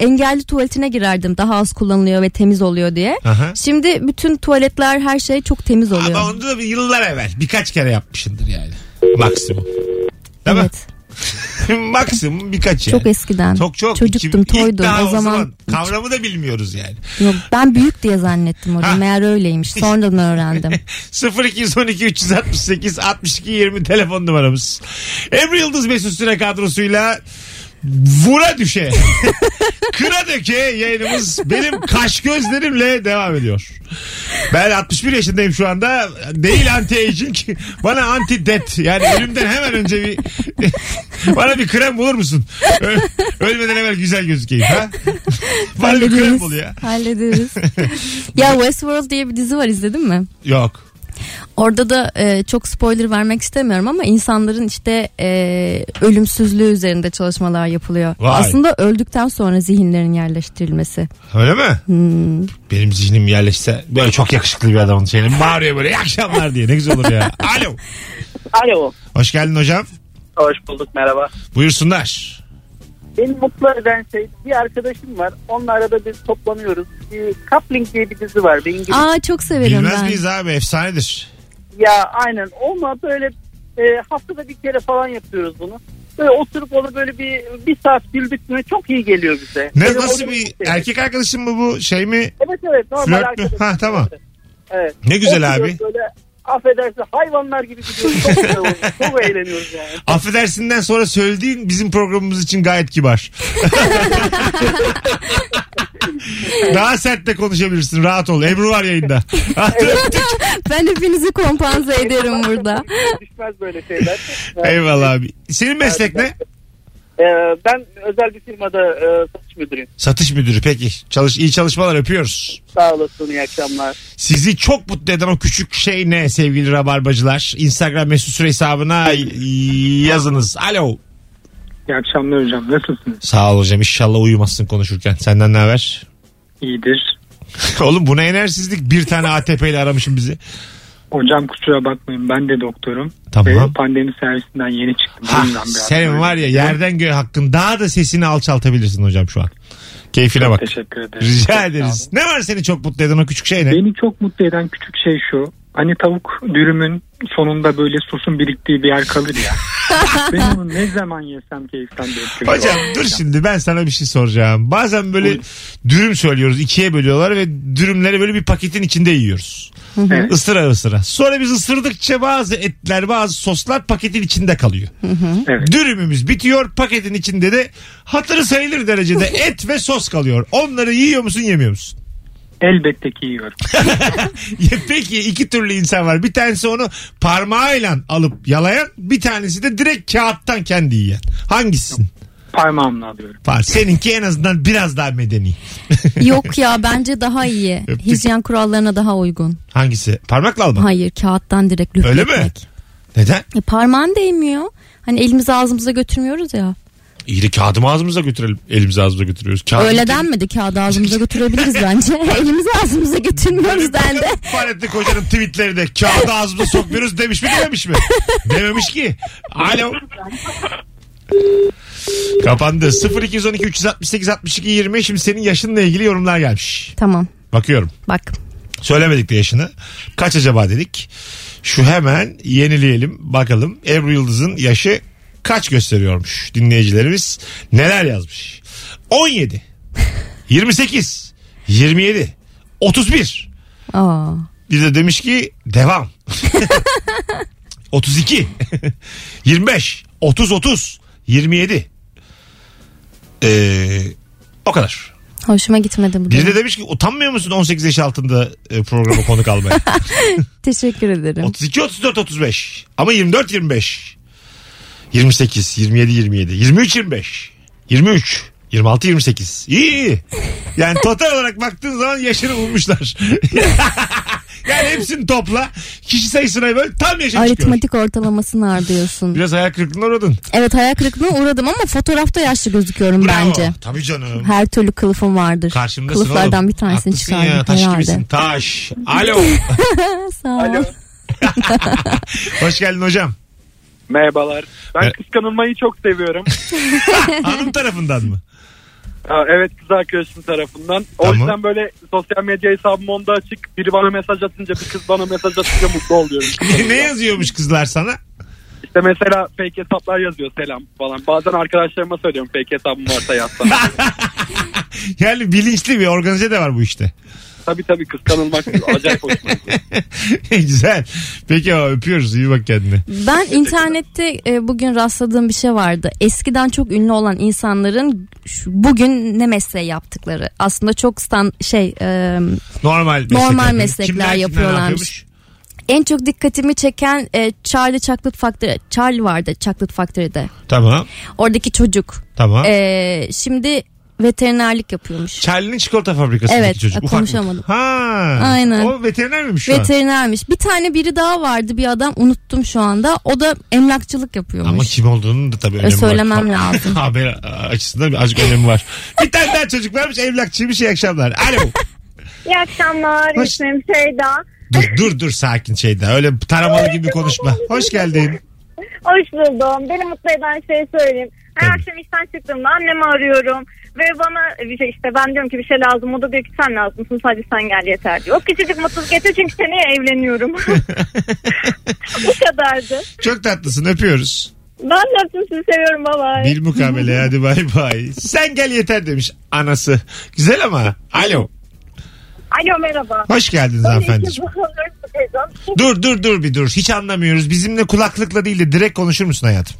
[SPEAKER 3] engelli tuvaletine girerdim. Daha az kullanılıyor ve temiz oluyor diye.
[SPEAKER 2] Aha.
[SPEAKER 3] Şimdi bütün tuvaletler her şey çok temiz oluyor.
[SPEAKER 2] Ama onu da bir yıllar evvel birkaç kere yapmışındır yani. Maksimum. Değil
[SPEAKER 3] evet.
[SPEAKER 2] mi? (laughs) Maksimum birkaç yani.
[SPEAKER 3] Çok eskiden.
[SPEAKER 2] Çok çok.
[SPEAKER 3] Çocuktum,
[SPEAKER 2] İlk
[SPEAKER 3] toydum.
[SPEAKER 2] daha
[SPEAKER 3] O zaman-
[SPEAKER 2] Kavramı da bilmiyoruz yani.
[SPEAKER 3] Yok, ben büyük diye zannettim
[SPEAKER 2] Ha.
[SPEAKER 3] onu. Meğer öyleymiş.
[SPEAKER 2] (laughs)
[SPEAKER 3] Sonradan öğrendim.
[SPEAKER 2] 0212 368 62 20 telefon numaramız. Ebru Yıldız Mesut Süre kadrosuyla vura düşe (laughs) kıra döke yayınımız benim kaş gözlerimle devam ediyor. Ben 61 yaşındayım şu anda. Değil anti aging. Bana anti death. Yani ölümden hemen önce bir (laughs) bana bir krem bulur musun? Ö- Ölmeden evvel güzel gözükeyim ha? Bana bir krem bul ya. (laughs)
[SPEAKER 3] Hallederiz. ya Westworld diye bir dizi var izledin mi?
[SPEAKER 2] Yok.
[SPEAKER 3] Orada da e, çok spoiler vermek istemiyorum ama insanların işte e, ölümsüzlüğü üzerinde çalışmalar yapılıyor.
[SPEAKER 2] Vay.
[SPEAKER 3] Aslında öldükten sonra zihinlerin yerleştirilmesi.
[SPEAKER 2] Öyle mi? Benim zihnim yerleşse böyle çok yakışıklı bir adamın şeyini bağırıyor böyle iyi akşamlar diye ne güzel olur ya. Alo.
[SPEAKER 4] Alo.
[SPEAKER 2] Hoş geldin hocam.
[SPEAKER 4] Hoş bulduk merhaba.
[SPEAKER 2] Buyursunlar.
[SPEAKER 4] Beni mutlu eden şey bir arkadaşım var. Onunla arada biz toplanıyoruz. Bir Coupling diye bir dizi var. Bir İngiliz.
[SPEAKER 3] Aa çok severim
[SPEAKER 2] Bilmez
[SPEAKER 3] ben.
[SPEAKER 2] miyiz abi efsanedir.
[SPEAKER 4] Ya aynen. Onunla böyle e, haftada bir kere falan yapıyoruz bunu. Böyle oturup onu böyle bir, bir saat güldük mü çok iyi geliyor bize.
[SPEAKER 2] Ne,
[SPEAKER 4] Benim
[SPEAKER 2] nasıl
[SPEAKER 4] onu-
[SPEAKER 2] bir erkek arkadaşın mı bu şey mi?
[SPEAKER 4] Evet evet normal
[SPEAKER 2] Flört mü?
[SPEAKER 4] arkadaşım.
[SPEAKER 2] Ha, tamam.
[SPEAKER 4] Evet.
[SPEAKER 2] Ne güzel
[SPEAKER 4] Oturuyoruz
[SPEAKER 2] abi.
[SPEAKER 4] Böyle, affedersin hayvanlar gibi
[SPEAKER 2] (laughs)
[SPEAKER 4] gidiyoruz. Çok, güzel oluyor. çok eğleniyoruz yani.
[SPEAKER 2] Affedersinden sonra söylediğin bizim programımız için gayet kibar. Daha sert de konuşabilirsin rahat ol. Ebru var yayında. (laughs)
[SPEAKER 3] Ben (laughs) hepinizi kompanze ederim burada.
[SPEAKER 4] Düşmez böyle şeyler.
[SPEAKER 2] Eyvallah abi. Senin meslek ne?
[SPEAKER 4] Ee, ben özel bir firmada e, satış müdürüyüm.
[SPEAKER 2] Satış müdürü peki. Çalış, iyi çalışmalar öpüyoruz.
[SPEAKER 4] Sağ olasın iyi akşamlar.
[SPEAKER 2] Sizi çok mutlu eden o küçük şey ne sevgili rabarbacılar? Instagram mesut süre hesabına y- yazınız. Alo.
[SPEAKER 7] İyi akşamlar hocam. Nasılsınız?
[SPEAKER 2] Sağ ol hocam inşallah uyumazsın konuşurken. Senden ne haber?
[SPEAKER 7] İyidir.
[SPEAKER 2] (laughs) Oğlum bu ne enerjisizlik? Bir
[SPEAKER 7] (laughs)
[SPEAKER 2] tane ATP ile aramışım bizi.
[SPEAKER 7] Hocam kusura bakmayın ben de doktorum.
[SPEAKER 2] Tamam.
[SPEAKER 7] Ve Ee, pandemi servisinden yeni çıktım.
[SPEAKER 2] Ha,
[SPEAKER 7] O yüzden biraz
[SPEAKER 2] sen
[SPEAKER 7] böyle-
[SPEAKER 2] var ya yerden göğe hakkın. Daha da sesini alçaltabilirsin hocam şu an. Keyfine bak.
[SPEAKER 7] Teşekkür ederim.
[SPEAKER 2] Rica
[SPEAKER 7] Çok sağ
[SPEAKER 2] ederiz.
[SPEAKER 7] olun.
[SPEAKER 2] Ne var seni çok mutlu eden o küçük şey ne?
[SPEAKER 7] Beni çok mutlu eden küçük şey şu. Hani tavuk dürümün sonunda böyle sosun biriktiği bir yer kalır
[SPEAKER 2] (laughs)
[SPEAKER 7] ya. ben onu ne zaman yesem keyiften bekliyorum.
[SPEAKER 2] Hocam dur şimdi ben sana bir şey soracağım. Bazen böyle dürüm söylüyoruz. ikiye bölüyorlar ve dürümleri böyle bir paketin içinde yiyoruz.
[SPEAKER 7] Evet.
[SPEAKER 2] Isıra ısıra. Sonra biz ısırdıkça bazı etler bazı soslar paketin içinde kalıyor.
[SPEAKER 7] evet.
[SPEAKER 2] Dürümümüz bitiyor paketin içinde de hatırı sayılır derecede et ve sos kalıyor. Onları yiyor musun yemiyor musun?
[SPEAKER 7] Elbette ki yiyorum.
[SPEAKER 2] (laughs) Ya Peki iki türlü insan var. Bir tanesi onu parmağıyla alıp yalayan bir tanesi de direkt kağıttan kendi yiyen. Hangisisin?
[SPEAKER 7] Parmağımla alıyorum.
[SPEAKER 2] Var. Seninki en azından biraz daha medeni.
[SPEAKER 3] Yok ya bence daha iyi.
[SPEAKER 2] Öptük.
[SPEAKER 3] Hijyen kurallarına daha uygun.
[SPEAKER 2] Hangisi? Parmakla alma.
[SPEAKER 3] Hayır kağıttan direkt
[SPEAKER 2] Öyle mi?
[SPEAKER 3] löpletmek.
[SPEAKER 2] Neden?
[SPEAKER 3] E, parmağın değmiyor. Hani elimizi ağzımıza götürmüyoruz ya.
[SPEAKER 2] İyi de kağıdımı ağzımıza götürelim. Elimizi ağzımıza götürüyoruz. Kağıt
[SPEAKER 3] Öyle denmedi kağıdı ağzımıza götürebiliriz
[SPEAKER 2] (laughs)
[SPEAKER 3] bence. elimizi ağzımıza götürmüyoruz dendi.
[SPEAKER 2] Fahrettin Koca'nın tweetleri de kağıdı ağzımıza sokmuyoruz demiş mi dememiş mi? Dememiş ki. Alo. Kapandı. 0212 368 62 20. Şimdi senin yaşınla ilgili yorumlar gelmiş.
[SPEAKER 3] Tamam
[SPEAKER 2] Bakıyorum.
[SPEAKER 3] bak.
[SPEAKER 2] Söylemedik de yaşını. Kaç acaba dedik. Şu hemen yenileyelim bakalım. Ebru Yıldız'ın yaşı kaç gösteriyormuş dinleyicilerimiz. Neler yazmış. 17, 28, 27, 31.
[SPEAKER 3] Aa.
[SPEAKER 2] Bir de demiş ki devam. (laughs) 32, 25, 30, 30, 27. Ee, o kadar.
[SPEAKER 3] Hoşuma gitmedi bu.
[SPEAKER 2] Biri
[SPEAKER 3] durum.
[SPEAKER 2] de demiş ki utanmıyor musun 18 yaş altında e, programa konuk almaya?
[SPEAKER 3] Teşekkür ederim.
[SPEAKER 2] 32 34 35 ama 24 25 28 27 27 23 25 23 26-28. İyi iyi. Yani total (laughs) olarak baktığın zaman yaşını bulmuşlar. (laughs) yani hepsini topla. Kişi sayısına böl tam yaşın çıkıyor.
[SPEAKER 3] Aritmatik ortalamasını ardıyorsun.
[SPEAKER 2] Biraz hayal kırıklığına uğradın.
[SPEAKER 3] Evet hayal kırıklığına uğradım ama fotoğrafta yaşlı gözüküyorum
[SPEAKER 2] Bravo.
[SPEAKER 3] bence.
[SPEAKER 2] Tabii canım.
[SPEAKER 3] Her türlü kılıfım vardır.
[SPEAKER 2] Karşımdasın
[SPEAKER 3] Kılıflardan
[SPEAKER 2] oğlum.
[SPEAKER 3] bir tanesini
[SPEAKER 2] Haklısın
[SPEAKER 3] çıkardım
[SPEAKER 2] ya, taş
[SPEAKER 3] herhalde.
[SPEAKER 2] gibisin. Taş.
[SPEAKER 3] (laughs)
[SPEAKER 2] Alo.
[SPEAKER 3] Sağ ol.
[SPEAKER 2] Hoş geldin
[SPEAKER 3] (laughs)
[SPEAKER 2] hocam.
[SPEAKER 10] Merhabalar. Ben
[SPEAKER 2] Mer-
[SPEAKER 10] kıskanılmayı çok seviyorum.
[SPEAKER 2] Hanım tarafından mı?
[SPEAKER 10] Aa, evet kız arkadaşım tarafından. O
[SPEAKER 2] Tamam.
[SPEAKER 10] yüzden böyle sosyal medya hesabım onda açık. Biri bana mesaj atınca bir kız bana mesaj atınca
[SPEAKER 2] (laughs)
[SPEAKER 10] mutlu oluyorum.
[SPEAKER 2] ne yazıyormuş kızlar sana?
[SPEAKER 10] İşte mesela fake hesaplar yazıyor selam falan. Bazen arkadaşlarıma söylüyorum fake hesabım varsa yazsana.
[SPEAKER 2] Yani bilinçli bir organize de var bu işte.
[SPEAKER 10] tabii tabii kıskanılmak acayip hoşuma gidiyor.
[SPEAKER 2] (laughs) Güzel. Peki o, öpüyoruz. İyi bak kendine.
[SPEAKER 3] Ben internette e, bugün rastladığım bir şey vardı. Eskiden çok ünlü olan insanların şu- bugün ne mesleği yaptıkları. Aslında çok stan şey e,
[SPEAKER 2] Normal meslekler.
[SPEAKER 3] Normal
[SPEAKER 2] Kimler
[SPEAKER 3] meslekler
[SPEAKER 2] kimler ne
[SPEAKER 3] yapıyorlarmış.
[SPEAKER 2] yapıyormuş?
[SPEAKER 3] en çok dikkatimi çeken e, Charlie Chocolate Factory. Charlie vardı Chocolate Factory'de.
[SPEAKER 2] Tamam.
[SPEAKER 3] Oradaki çocuk.
[SPEAKER 2] Tamam.
[SPEAKER 3] E, şimdi veterinerlik yapıyormuş.
[SPEAKER 2] Charlie'nin çikolata fabrikasındaki
[SPEAKER 3] Evet,
[SPEAKER 2] çocuk. Ufaklık.
[SPEAKER 3] konuşamadım.
[SPEAKER 2] Ha.
[SPEAKER 3] Aynen.
[SPEAKER 2] O veteriner miymiş şu an?
[SPEAKER 3] Veterinermiş. Bir tane biri daha vardı bir adam unuttum şu anda. O da emlakçılık yapıyormuş.
[SPEAKER 2] Ama kim olduğunun da tabii önemi var.
[SPEAKER 3] söylemem
[SPEAKER 2] (laughs)
[SPEAKER 3] lazım.
[SPEAKER 2] Haber açısından azıcık önemi var. Bir tane daha çocuk varmış evlakçıymış iyi akşamlar. Alo.
[SPEAKER 5] İyi akşamlar.
[SPEAKER 2] Hoş-
[SPEAKER 5] İsmim Şeyda.
[SPEAKER 2] dur dur dur sakin Şeyda. Öyle taramalı gibi konuşma. Hoş geldin. (laughs)
[SPEAKER 5] Hoş buldum. Beni mutlu eden şeyi söyleyeyim. Her
[SPEAKER 2] Tabii.
[SPEAKER 5] akşam işten çıktığımda annemi arıyorum. Ve bana bir şey işte ben diyorum ki bir şey lazım. O da diyor ki sen lazımsın sadece sen gel yeter diyor. O küçücük mutluluk yetiyor çünkü seneye evleniyorum. (laughs) Bu kadardı.
[SPEAKER 2] Çok tatlısın öpüyoruz.
[SPEAKER 5] Ben de öptüm, sizi seviyorum baba.
[SPEAKER 2] Bil mukabele hadi bay bay. Sen gel yeter demiş anası. Güzel ama. Alo.
[SPEAKER 5] Alo merhaba.
[SPEAKER 2] Hoş geldiniz hanımefendiciğim. Dur dur dur bir dur. Hiç anlamıyoruz. Bizimle kulaklıkla değil de direkt konuşur musun hayatım?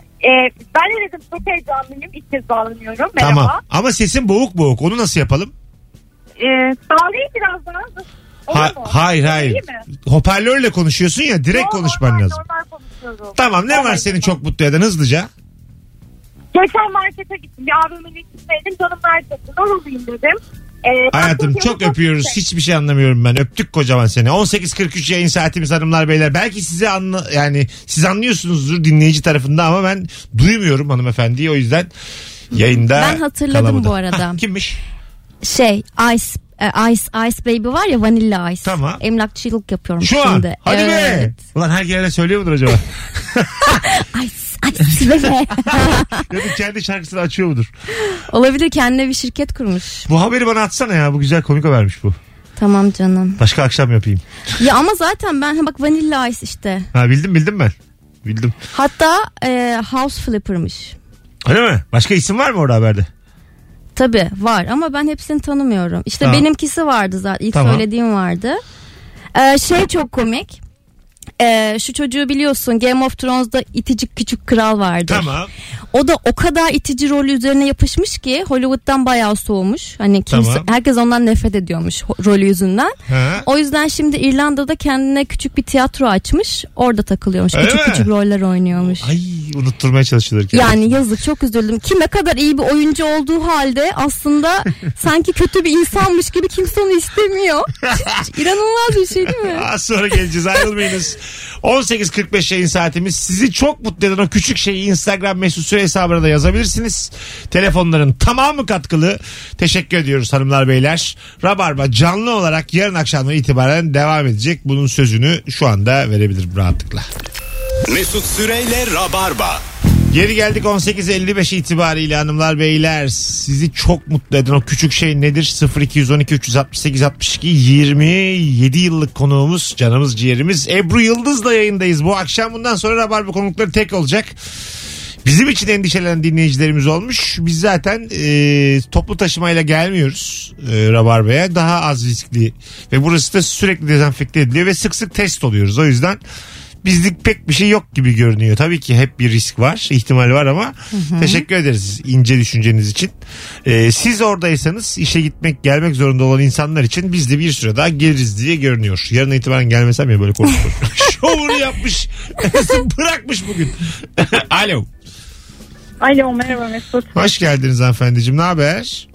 [SPEAKER 5] Ee, ben de dedim çok heyecanlıyım. İlk kez bağlanıyorum. Merhaba.
[SPEAKER 2] Tamam. Ama sesin boğuk boğuk. Onu nasıl yapalım?
[SPEAKER 5] Ee, bağlayayım biraz daha. Olur
[SPEAKER 2] Ha-
[SPEAKER 5] mu?
[SPEAKER 2] hayır hayır.
[SPEAKER 5] İyi mi?
[SPEAKER 2] Hoparlörle konuşuyorsun ya direkt
[SPEAKER 5] Yok,
[SPEAKER 2] konuşman
[SPEAKER 5] normal,
[SPEAKER 2] lazım.
[SPEAKER 5] normal konuşuyorum.
[SPEAKER 2] Tamam ne var
[SPEAKER 5] Normal,
[SPEAKER 2] seni
[SPEAKER 5] normal.
[SPEAKER 2] çok mutlu eden hızlıca?
[SPEAKER 5] Geçen markete gittim. Bir abimin içindeydim. Canım markette. Ne olayım dedim. Ee,
[SPEAKER 2] Hayatım
[SPEAKER 5] baktım ki
[SPEAKER 2] çok
[SPEAKER 5] bu
[SPEAKER 2] öpüyoruz.
[SPEAKER 5] şey.
[SPEAKER 2] Hiçbir şey anlamıyorum ben. Öptük kocaman seni. 18.43 yayın saatimiz hanımlar beyler. Belki size anla yani siz anlıyorsunuzdur dinleyici tarafında ama ben duymuyorum hanımefendiyi o yüzden yayında
[SPEAKER 3] Ben hatırladım
[SPEAKER 2] kalamadım.
[SPEAKER 3] bu arada.
[SPEAKER 2] Hah, (laughs) kimmiş?
[SPEAKER 3] Şey Ice e, Ice Ice Baby var ya Vanilla Ice.
[SPEAKER 2] Tamam.
[SPEAKER 3] Emlakçılık yapıyorum
[SPEAKER 2] Şu an.
[SPEAKER 3] şimdi.
[SPEAKER 2] Hadi
[SPEAKER 3] evet.
[SPEAKER 2] be. Ulan her gelene söylüyor mudur
[SPEAKER 3] (laughs)
[SPEAKER 2] acaba?
[SPEAKER 3] Ice
[SPEAKER 2] (laughs)
[SPEAKER 3] Ice Baby.
[SPEAKER 2] ya da kendi şarkısını açıyor mudur?
[SPEAKER 3] Olabilir kendine bir şirket kurmuş.
[SPEAKER 2] Bu haberi bana atsana ya. Bu güzel komik habermiş bu.
[SPEAKER 3] Tamam canım.
[SPEAKER 2] Başka akşam yapayım.
[SPEAKER 3] Ya ama zaten ben ha bak Vanilla Ice işte.
[SPEAKER 2] Ha bildim bildim ben. Bildim.
[SPEAKER 3] Hatta e, House Flipper'mış.
[SPEAKER 2] Öyle mi? Başka isim var mı orada haberde?
[SPEAKER 3] Tabi var ama ben hepsini tanımıyorum. İşte
[SPEAKER 2] Tamam.
[SPEAKER 3] benimkisi vardı zaten ilk
[SPEAKER 2] Tamam.
[SPEAKER 3] söylediğim vardı. E, şey çok komik. E, şu çocuğu biliyorsun Game of Thrones'da itici küçük kral vardı.
[SPEAKER 2] Tamam.
[SPEAKER 3] O da o kadar itici rolü üzerine yapışmış ki Hollywood'dan bayağı soğumuş. Hani kimse
[SPEAKER 2] Tamam.
[SPEAKER 3] herkes ondan nefret ediyormuş ho- rolü yüzünden.
[SPEAKER 2] Ha.
[SPEAKER 3] O yüzden şimdi İrlanda'da kendine küçük bir tiyatro açmış. Orada takılıyormuş.
[SPEAKER 2] Öyle
[SPEAKER 3] küçük
[SPEAKER 2] mi?
[SPEAKER 3] küçük roller oynuyormuş.
[SPEAKER 2] Ay unutturmaya çalışılır. ki.
[SPEAKER 3] Yani yazık çok üzüldüm. Kime kadar iyi bir oyuncu olduğu halde
[SPEAKER 2] (laughs)
[SPEAKER 3] aslında sanki kötü bir insanmış gibi kimse onu istemiyor. İnanılmaz bir şey değil mi?
[SPEAKER 2] Az sonra geleceğiz ayrılmayınız. 18.45 yayın saatimiz. Sizi çok mutlu eden o küçük şeyi Instagram mesut süre hesabına da yazabilirsiniz. Telefonların tamamı katkılı. Teşekkür ediyoruz hanımlar beyler. Rabarba canlı olarak yarın akşamdan itibaren devam edecek. Bunun sözünü şu anda verebilirim rahatlıkla.
[SPEAKER 1] Mesut Süreyle Rabarba.
[SPEAKER 2] Geri geldik 18.55 itibariyle hanımlar beyler. Sizi çok mutlu eden o küçük şey nedir? 0212 368 62 27 yıllık konuğumuz canımız ciğerimiz Ebru Yıldız'la yayındayız. Bu akşam bundan sonra Rabarba konukları tek olacak. Bizim için endişelenen dinleyicilerimiz olmuş. Biz zaten e, toplu taşımayla gelmiyoruz e, Rabarba'ya. Daha az riskli ve burası da sürekli dezenfekte ediliyor ve sık sık test oluyoruz. O yüzden bizlik pek bir şey yok gibi görünüyor. Tabii ki hep bir risk var, ihtimal var ama teşekkür ederiz ince düşünceniz için. E, siz oradaysanız işe gitmek, gelmek zorunda olan insanlar için biz de bir süre daha geliriz diye görünüyor. Yarın itibaren gelmesem ya böyle korkuyorum. (laughs) Şovunu yapmış, bırakmış bugün. Alo.
[SPEAKER 5] Alo merhaba Mesut.
[SPEAKER 2] Hoş geldiniz hanımefendiciğim. Ne haber?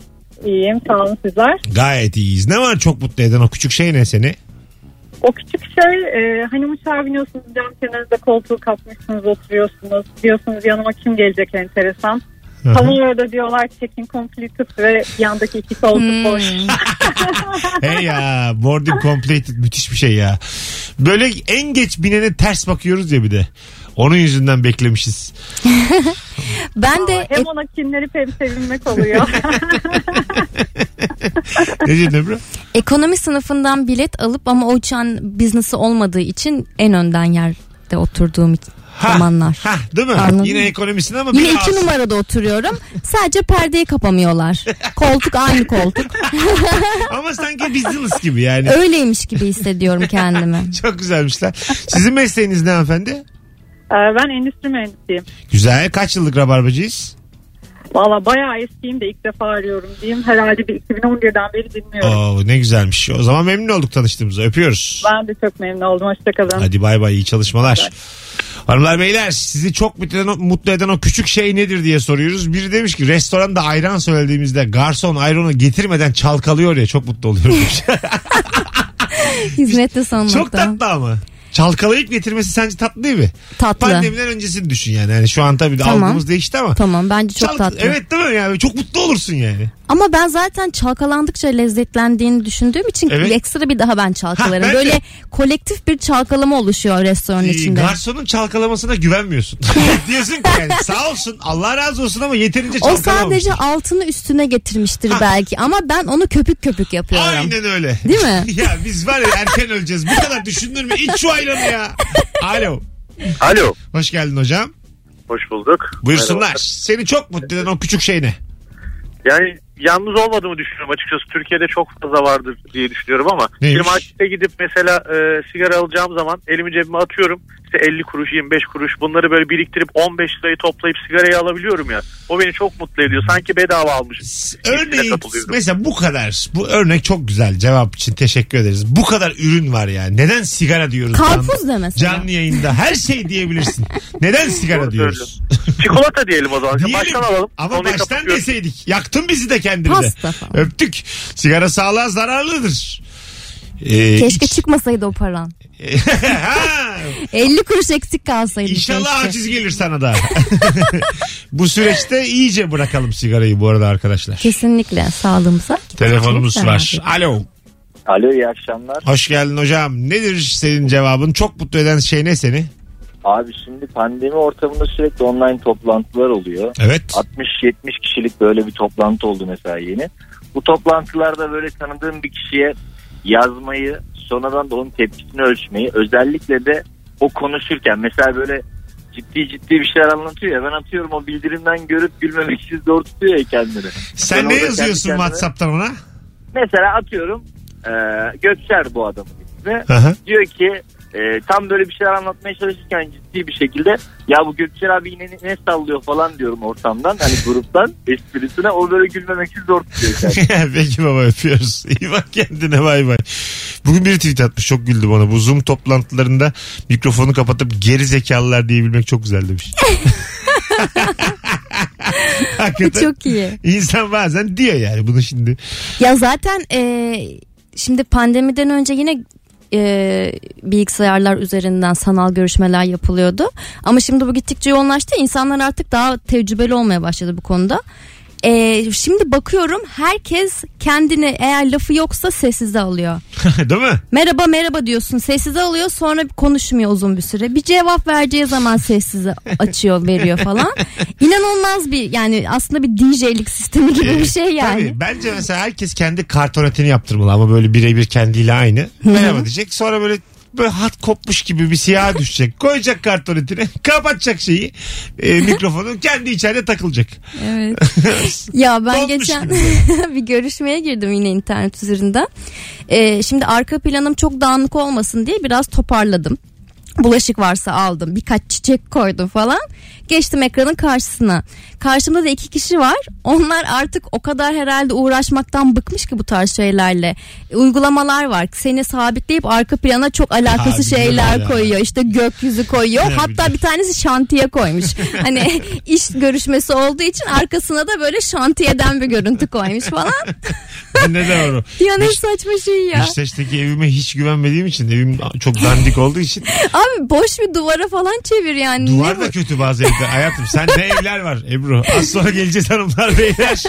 [SPEAKER 5] İyiyim sağ olun sizler.
[SPEAKER 2] Gayet iyiyiz. Ne var çok mutlu eden o küçük şey ne seni?
[SPEAKER 5] O küçük şey e, hani uçağa biniyorsunuz cam kenarında koltuğu kapmışsınız oturuyorsunuz. Diyorsunuz yanıma kim gelecek enteresan.
[SPEAKER 2] Hı hı.
[SPEAKER 5] Tam orada diyorlar check-in completed ve yandaki iki koltuk boş.
[SPEAKER 2] hey ya boarding completed müthiş bir şey ya. Böyle en geç binene ters bakıyoruz ya bir de. Onun yüzünden beklemişiz.
[SPEAKER 3] Ben de
[SPEAKER 5] hem ona kinlenip hem sevinmek oluyor. (laughs)
[SPEAKER 2] Ne diyeyim Ebru?
[SPEAKER 3] ekonomi sınıfından bilet alıp ama o uçağın biznesi olmadığı için en önden yerde oturduğum
[SPEAKER 2] Ha,
[SPEAKER 3] zamanlar.
[SPEAKER 2] Ha, değil mi?
[SPEAKER 3] Anladım.
[SPEAKER 2] Yine ekonomisinde ama
[SPEAKER 3] Yine
[SPEAKER 2] biraz.
[SPEAKER 3] iki numarada oturuyorum. Sadece perdeyi kapamıyorlar. Koltuk aynı koltuk.
[SPEAKER 2] Ama sanki business gibi yani.
[SPEAKER 3] Öyleymiş gibi hissediyorum kendimi.
[SPEAKER 2] (laughs) Çok güzelmişler. Sizin mesleğiniz ne hanımefendi?
[SPEAKER 5] E, ben endüstri mühendisiyim.
[SPEAKER 2] Güzel. Kaç yıllık rabarbacıyız?
[SPEAKER 5] Valla bayağı eskiyim de ilk defa arıyorum diyeyim. Herhalde bir 2011'den beri dinliyorum.
[SPEAKER 2] Oo, ne güzelmiş. O zaman memnun olduk tanıştığımıza. Öpüyoruz.
[SPEAKER 5] Ben de çok memnun oldum. Hoşçakalın.
[SPEAKER 2] Hadi bay bay iyi çalışmalar. Hanımlar beyler sizi çok mutlu eden, mutlu eden o küçük şey nedir diye soruyoruz. Biri demiş ki restoranda ayran söylediğimizde garson ayranı getirmeden çalkalıyor ya çok mutlu oluyorum.
[SPEAKER 3] (laughs)
[SPEAKER 2] demiş.
[SPEAKER 3] Hizmetli sanmakta.
[SPEAKER 2] çok tatlı ama. Çalkalayıp getirmesi sence tatlı değil mi?
[SPEAKER 3] Tatlı.
[SPEAKER 2] Pandemiden öncesini düşün yani. yani şu an tabii de
[SPEAKER 3] Tamam.
[SPEAKER 2] algımız değişti ama.
[SPEAKER 3] Tamam bence çok
[SPEAKER 2] Çalk-
[SPEAKER 3] tatlı.
[SPEAKER 2] Evet değil mi yani çok mutlu olursun yani.
[SPEAKER 3] Ama ben zaten çalkalandıkça lezzetlendiğini düşündüğüm için
[SPEAKER 2] Evet.
[SPEAKER 3] ekstra bir daha ben çalkalarım.
[SPEAKER 2] Ha, ben de.
[SPEAKER 3] Böyle kolektif bir çalkalama oluşuyor restoranın
[SPEAKER 2] Ee,
[SPEAKER 3] içinde.
[SPEAKER 2] Garsonun çalkalamasına
[SPEAKER 3] (laughs)
[SPEAKER 2] güvenmiyorsun. Diyorsun ki yani sağ olsun Allah razı olsun ama yeterince
[SPEAKER 3] O
[SPEAKER 2] çalkalamamış.
[SPEAKER 3] sadece altını üstüne getirmiştir belki ama ben onu köpük köpük yapıyorum.
[SPEAKER 2] Aynen öyle.
[SPEAKER 3] Değil mi?
[SPEAKER 2] (laughs) ya biz var ya erken öleceğiz. Bu kadar düşündün mü? İç şu ayranı ya. Alo.
[SPEAKER 11] Alo.
[SPEAKER 2] Hoş geldin hocam.
[SPEAKER 11] Hoş bulduk.
[SPEAKER 2] Buyursunlar.
[SPEAKER 11] Merhaba.
[SPEAKER 2] Seni çok mutlu eden o küçük şey ne?
[SPEAKER 11] Yani yalnız olmadığımı düşünüyorum açıkçası. Türkiye'de çok fazla vardır diye düşünüyorum ama.
[SPEAKER 2] Neymiş?
[SPEAKER 11] Bir markete gidip mesela e, sigara alacağım zaman elimi cebime atıyorum. İşte 50 kuruş, 25 kuruş bunları böyle biriktirip 15 lirayı toplayıp sigarayı alabiliyorum ya. O beni çok mutlu ediyor. Sanki bedava almışım.
[SPEAKER 2] Örneğin
[SPEAKER 11] katılıyorum.
[SPEAKER 2] mesela bu kadar. Bu örnek çok güzel. Cevap için teşekkür ederiz. Bu kadar ürün var ya. Neden sigara diyoruz?
[SPEAKER 3] Karpuz
[SPEAKER 2] canlı,
[SPEAKER 3] da mesela.
[SPEAKER 2] canlı yayında her şey diyebilirsin. Neden sigara
[SPEAKER 11] Doğru
[SPEAKER 2] diyoruz?
[SPEAKER 11] Çikolata diyelim o zaman.
[SPEAKER 2] Diyelim.
[SPEAKER 11] Baştan alalım.
[SPEAKER 2] Ama
[SPEAKER 11] Konuyu
[SPEAKER 2] baştan
[SPEAKER 11] kapatıyoruz.
[SPEAKER 2] deseydik. Yaktın bizi de kendimize.
[SPEAKER 3] Pasta falan.
[SPEAKER 2] Öptük. Sigara sağlığa zararlıdır. Ee,
[SPEAKER 3] Keşke
[SPEAKER 2] iç- (laughs)
[SPEAKER 3] çıkmasaydı o paran. 50 kuruş eksik kalsaydı.
[SPEAKER 2] İnşallah
[SPEAKER 3] keşke.
[SPEAKER 2] aciz gelir sana da. (laughs) bu süreçte iyice bırakalım sigarayı bu arada arkadaşlar.
[SPEAKER 3] Kesinlikle sağlığımıza.
[SPEAKER 2] Telefonumuz
[SPEAKER 3] Çok
[SPEAKER 2] var.
[SPEAKER 3] zararlı.
[SPEAKER 2] Alo.
[SPEAKER 6] Alo iyi akşamlar.
[SPEAKER 2] Hoş geldin hocam. Nedir senin cevabın? Çok mutlu eden şey ne seni?
[SPEAKER 6] Abi şimdi pandemi ortamında sürekli online toplantılar oluyor.
[SPEAKER 2] Evet.
[SPEAKER 6] 60-70 kişilik böyle bir toplantı oldu mesela yeni. Bu toplantılarda böyle tanıdığım bir kişiye yazmayı, sonradan da onun tepkisini ölçmeyi, özellikle de o konuşurken mesela böyle ciddi ciddi bir şeyler anlatıyor ya ben atıyorum o bildirimden görüp gülmemek için zor tutuyor ya kendini. Ben
[SPEAKER 2] Sen ne
[SPEAKER 6] orada
[SPEAKER 2] yazıyorsun
[SPEAKER 6] kendi kendime-
[SPEAKER 2] WhatsApp'tan ona?
[SPEAKER 6] Mesela atıyorum e, Gökçer bu adamın ismi.
[SPEAKER 2] Hı (laughs) hı.
[SPEAKER 6] Diyor ki e, tam böyle bir şeyler anlatmaya çalışırken ciddi bir şekilde ya bu Gökçer abi yine ne, ne sallıyor falan diyorum ortamdan hani gruptan esprisine o böyle gülmemek için zor tutuyor kendini.
[SPEAKER 2] Peki baba öpüyoruz. (laughs) İyi bak kendine bay bay. Bugün bir tweet atmış çok güldüm ona. Bu Zoom toplantılarında mikrofonu kapatıp geri zekalılar diyebilmek çok güzel demiş.
[SPEAKER 3] Bu
[SPEAKER 2] Hakikaten
[SPEAKER 3] çok iyi.
[SPEAKER 2] İnsan bazen diyor yani bunu şimdi. (laughs)
[SPEAKER 3] Ya zaten e, şimdi pandemiden önce yine e, bilgisayarlar üzerinden sanal görüşmeler yapılıyordu. Ama şimdi bu gittikçe yoğunlaştı. İnsanlar artık daha tecrübeli olmaya başladı bu konuda. E, şimdi bakıyorum herkes kendini eğer lafı yoksa sessize alıyor.
[SPEAKER 2] Değil mi?
[SPEAKER 3] Merhaba merhaba diyorsun sessize alıyor sonra konuşmuyor uzun bir süre. Bir cevap vereceği zaman sessize açıyor veriyor falan. İnanılmaz bir yani aslında bir DJ'lik sistemi gibi bir şey yani.
[SPEAKER 2] Ee, Tabii, bence mesela herkes kendi kartonetini yaptırmalı ama böyle birebir kendiyle aynı. Merhaba diyecek. Sonra böyle böyle hat kopmuş gibi bir siyah düşecek.
[SPEAKER 3] (laughs)
[SPEAKER 2] Koyacak kartonetini. Kapatacak şeyi. e, mikrofonu. Kendi içeride takılacak.
[SPEAKER 3] Evet. ya (laughs) ben
[SPEAKER 2] Dolmuş
[SPEAKER 3] geçen
[SPEAKER 2] gibi
[SPEAKER 3] (laughs) bir görüşmeye girdim yine internet üzerinden. Ee, şimdi arka planım çok dağınık olmasın diye biraz toparladım. Bulaşık varsa aldım. Birkaç çiçek koydum falan. Geçtim ekranın karşısına. Karşımda da iki kişi var. Onlar artık o kadar herhalde uğraşmaktan bıkmış ki bu tarz şeylerle. E, Uygulamalar var. Seni sabitleyip arka plana çok alakası
[SPEAKER 12] Abi,
[SPEAKER 3] şeyler
[SPEAKER 12] güzel ya.
[SPEAKER 3] koyuyor. İşte gökyüzü koyuyor.
[SPEAKER 12] Ne
[SPEAKER 3] Hatta bir tanesi şantiye koymuş. hani iş görüşmesi olduğu için arkasına da böyle şantiyeden bir görüntü koymuş falan.
[SPEAKER 2] ne doğru.
[SPEAKER 3] Ya ne saçma şey (laughs) ya.
[SPEAKER 2] Beşiktaş'taki evime hiç güvenmediğim için evim çok dandik olduğu için
[SPEAKER 3] Abi boş bir duvara falan çevir yani.
[SPEAKER 2] duvar da kötü bazı evler. Hayatım sen ne evler var Ebru. Az sonra geleceğiz hanımlar beyler.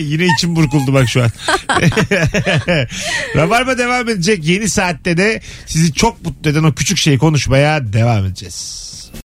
[SPEAKER 2] (laughs) Yine içim burkuldu bak şu an. (laughs) Rabarba devam edecek. Yeni saatte de sizi çok mutlu eden o küçük şeyi konuşmaya devam edeceğiz.